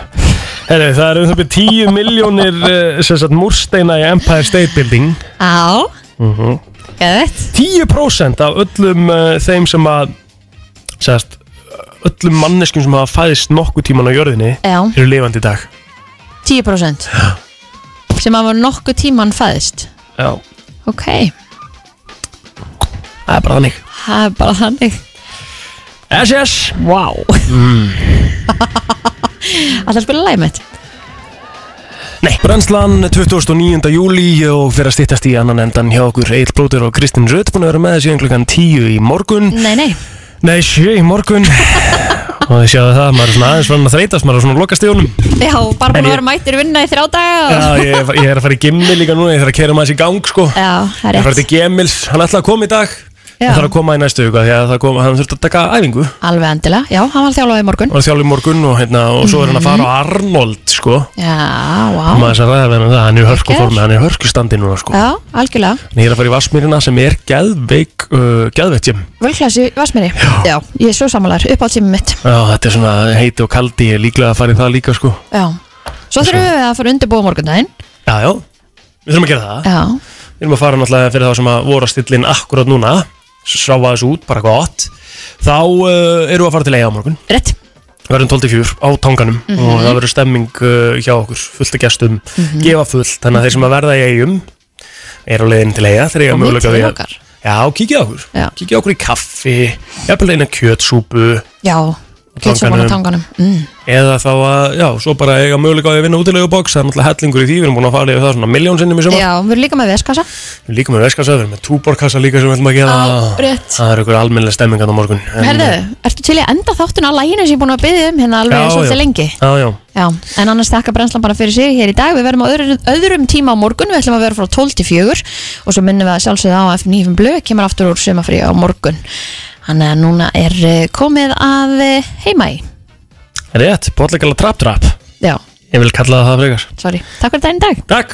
Speaker 4: Herri, það eru um það byrja 10 miljónir eh, sem sagt múrsteina í Empire State Building
Speaker 3: Já
Speaker 4: Mhm.
Speaker 3: Gæðið
Speaker 4: 10% af öllum uh, þeim sem að sagast, öllum manneskum sem hafa fæðist nokkuð tíman á jörðinni
Speaker 3: Já,
Speaker 4: eru lifandi í dag
Speaker 3: 10% Sem að var nokkuð tíman fæðist
Speaker 4: Já,
Speaker 3: Ok,
Speaker 4: það er bara þannig
Speaker 3: það er bara þannig
Speaker 4: SS
Speaker 3: Vá wow.
Speaker 4: Mm.
Speaker 3: Alltaf að spila lægið mitt
Speaker 4: Nei Brennslan 29. júli og fyrir að stittast í annan endan hjá okkur Egil Blótur og Kristinn Rutt búin að vera með þessi klukkan 10 í morgun
Speaker 3: Nei, nei
Speaker 4: Nei, 7 í morgun <laughs> og þið sjáðu það, maður er svona aðeins farin að þreytast maður er svona að loka stíðunum
Speaker 3: Já,
Speaker 4: En
Speaker 3: bara búin
Speaker 4: ég-
Speaker 3: að vera mættur vinna í þrjá daga og-
Speaker 4: Já, ég, er- ég er að fara í gimmil líka núna, ég þarf að kera maður þessi gang sko
Speaker 3: Já, það er
Speaker 4: Ég fætti
Speaker 3: rétt
Speaker 4: Gemils, hann ætlaði að koma í dag
Speaker 3: Já.
Speaker 4: Það þarf að koma í næstu viku af því að það kom, hann þurfti að taka æfingu
Speaker 3: Alveg endilega, já, hann var þjálfað í morgun
Speaker 4: og þjálf í morgun og, hérna, og svo er hann að fara á Arnold sko
Speaker 3: Já,
Speaker 4: og
Speaker 3: vá
Speaker 4: maður þess að ræða við hann um það, hann er í hörku formi, hann er í hörku standi núna sko
Speaker 3: Já, algjörlega,
Speaker 4: en ég er að fara í Vassmýrina sem er geðveik uh, geðveikt gym
Speaker 3: völklæsi Vassmeri Já, ég er svo sammálar, uppáhaldsími mitt
Speaker 4: Já, þetta er svona heiti og kaldi, ég er líklega að fara í það líka sko
Speaker 3: Já, svo þurfum við að fara að undirbúa morgundaginn
Speaker 4: Já, já, við þurfum að gera það
Speaker 3: Já,
Speaker 4: Við erum að fara náttúrulega fyrir þá sem að voru að stilla inn akkurat núna sráfa þessu út, bara gott þá uh, erum við að fara til eiga á morgun
Speaker 3: rétt
Speaker 4: verðum 12-4 á tanganum og það verður stemming uh, hjá okkur fullt af gestum, gefa fullt þannig að þeir sem að verða í eigum eru á leiðin til eiga þegar eiga
Speaker 3: Og
Speaker 4: mögulega
Speaker 3: milli
Speaker 4: við að
Speaker 3: okkar.
Speaker 4: já, kíkja á okkur,
Speaker 3: Já.
Speaker 4: kíkja á okkur í kaffi jafnvel eina kjötsúpu
Speaker 3: Já, kjötsóman á tanganum mm.
Speaker 4: eða þá að, já, svo bara eiga mögulega á því að vinna útilegu bóks, það er náttúrulega hellingur í því við erum búin að fara yfir það svona miljón sinnum í sumar
Speaker 3: Já, við erum líka með veskasa
Speaker 4: Við líka með veskasa, við erum með túborkassa líka sem við ætlum að gera
Speaker 3: Á, rétt.
Speaker 4: Það er einhver almennileg stemming að á morgun En- eh,
Speaker 3: Herðu, ertu til í að enda þáttun á læginu sem ég er búin að byggja um hérna alveg
Speaker 4: Já, já.
Speaker 3: svolítið lengi
Speaker 4: Já, já,
Speaker 3: Já, en annars þakka brennslan bara fyrir sig hér í dag Við verðum á öðru, öðrum tíma á morgun Við ætlum að vera frá 12 til 4 Og svo minnum við að sjálfsögða á F9 blöð Kemur aftur úr sumafrí á morgun Þannig að núna er eh, komið að eh, heima í
Speaker 4: rétt, bóttleikala trap-trap
Speaker 3: Já,
Speaker 4: Ég vil kalla það það frekar
Speaker 3: sorry, takk fyrir daginn í dag
Speaker 4: Takk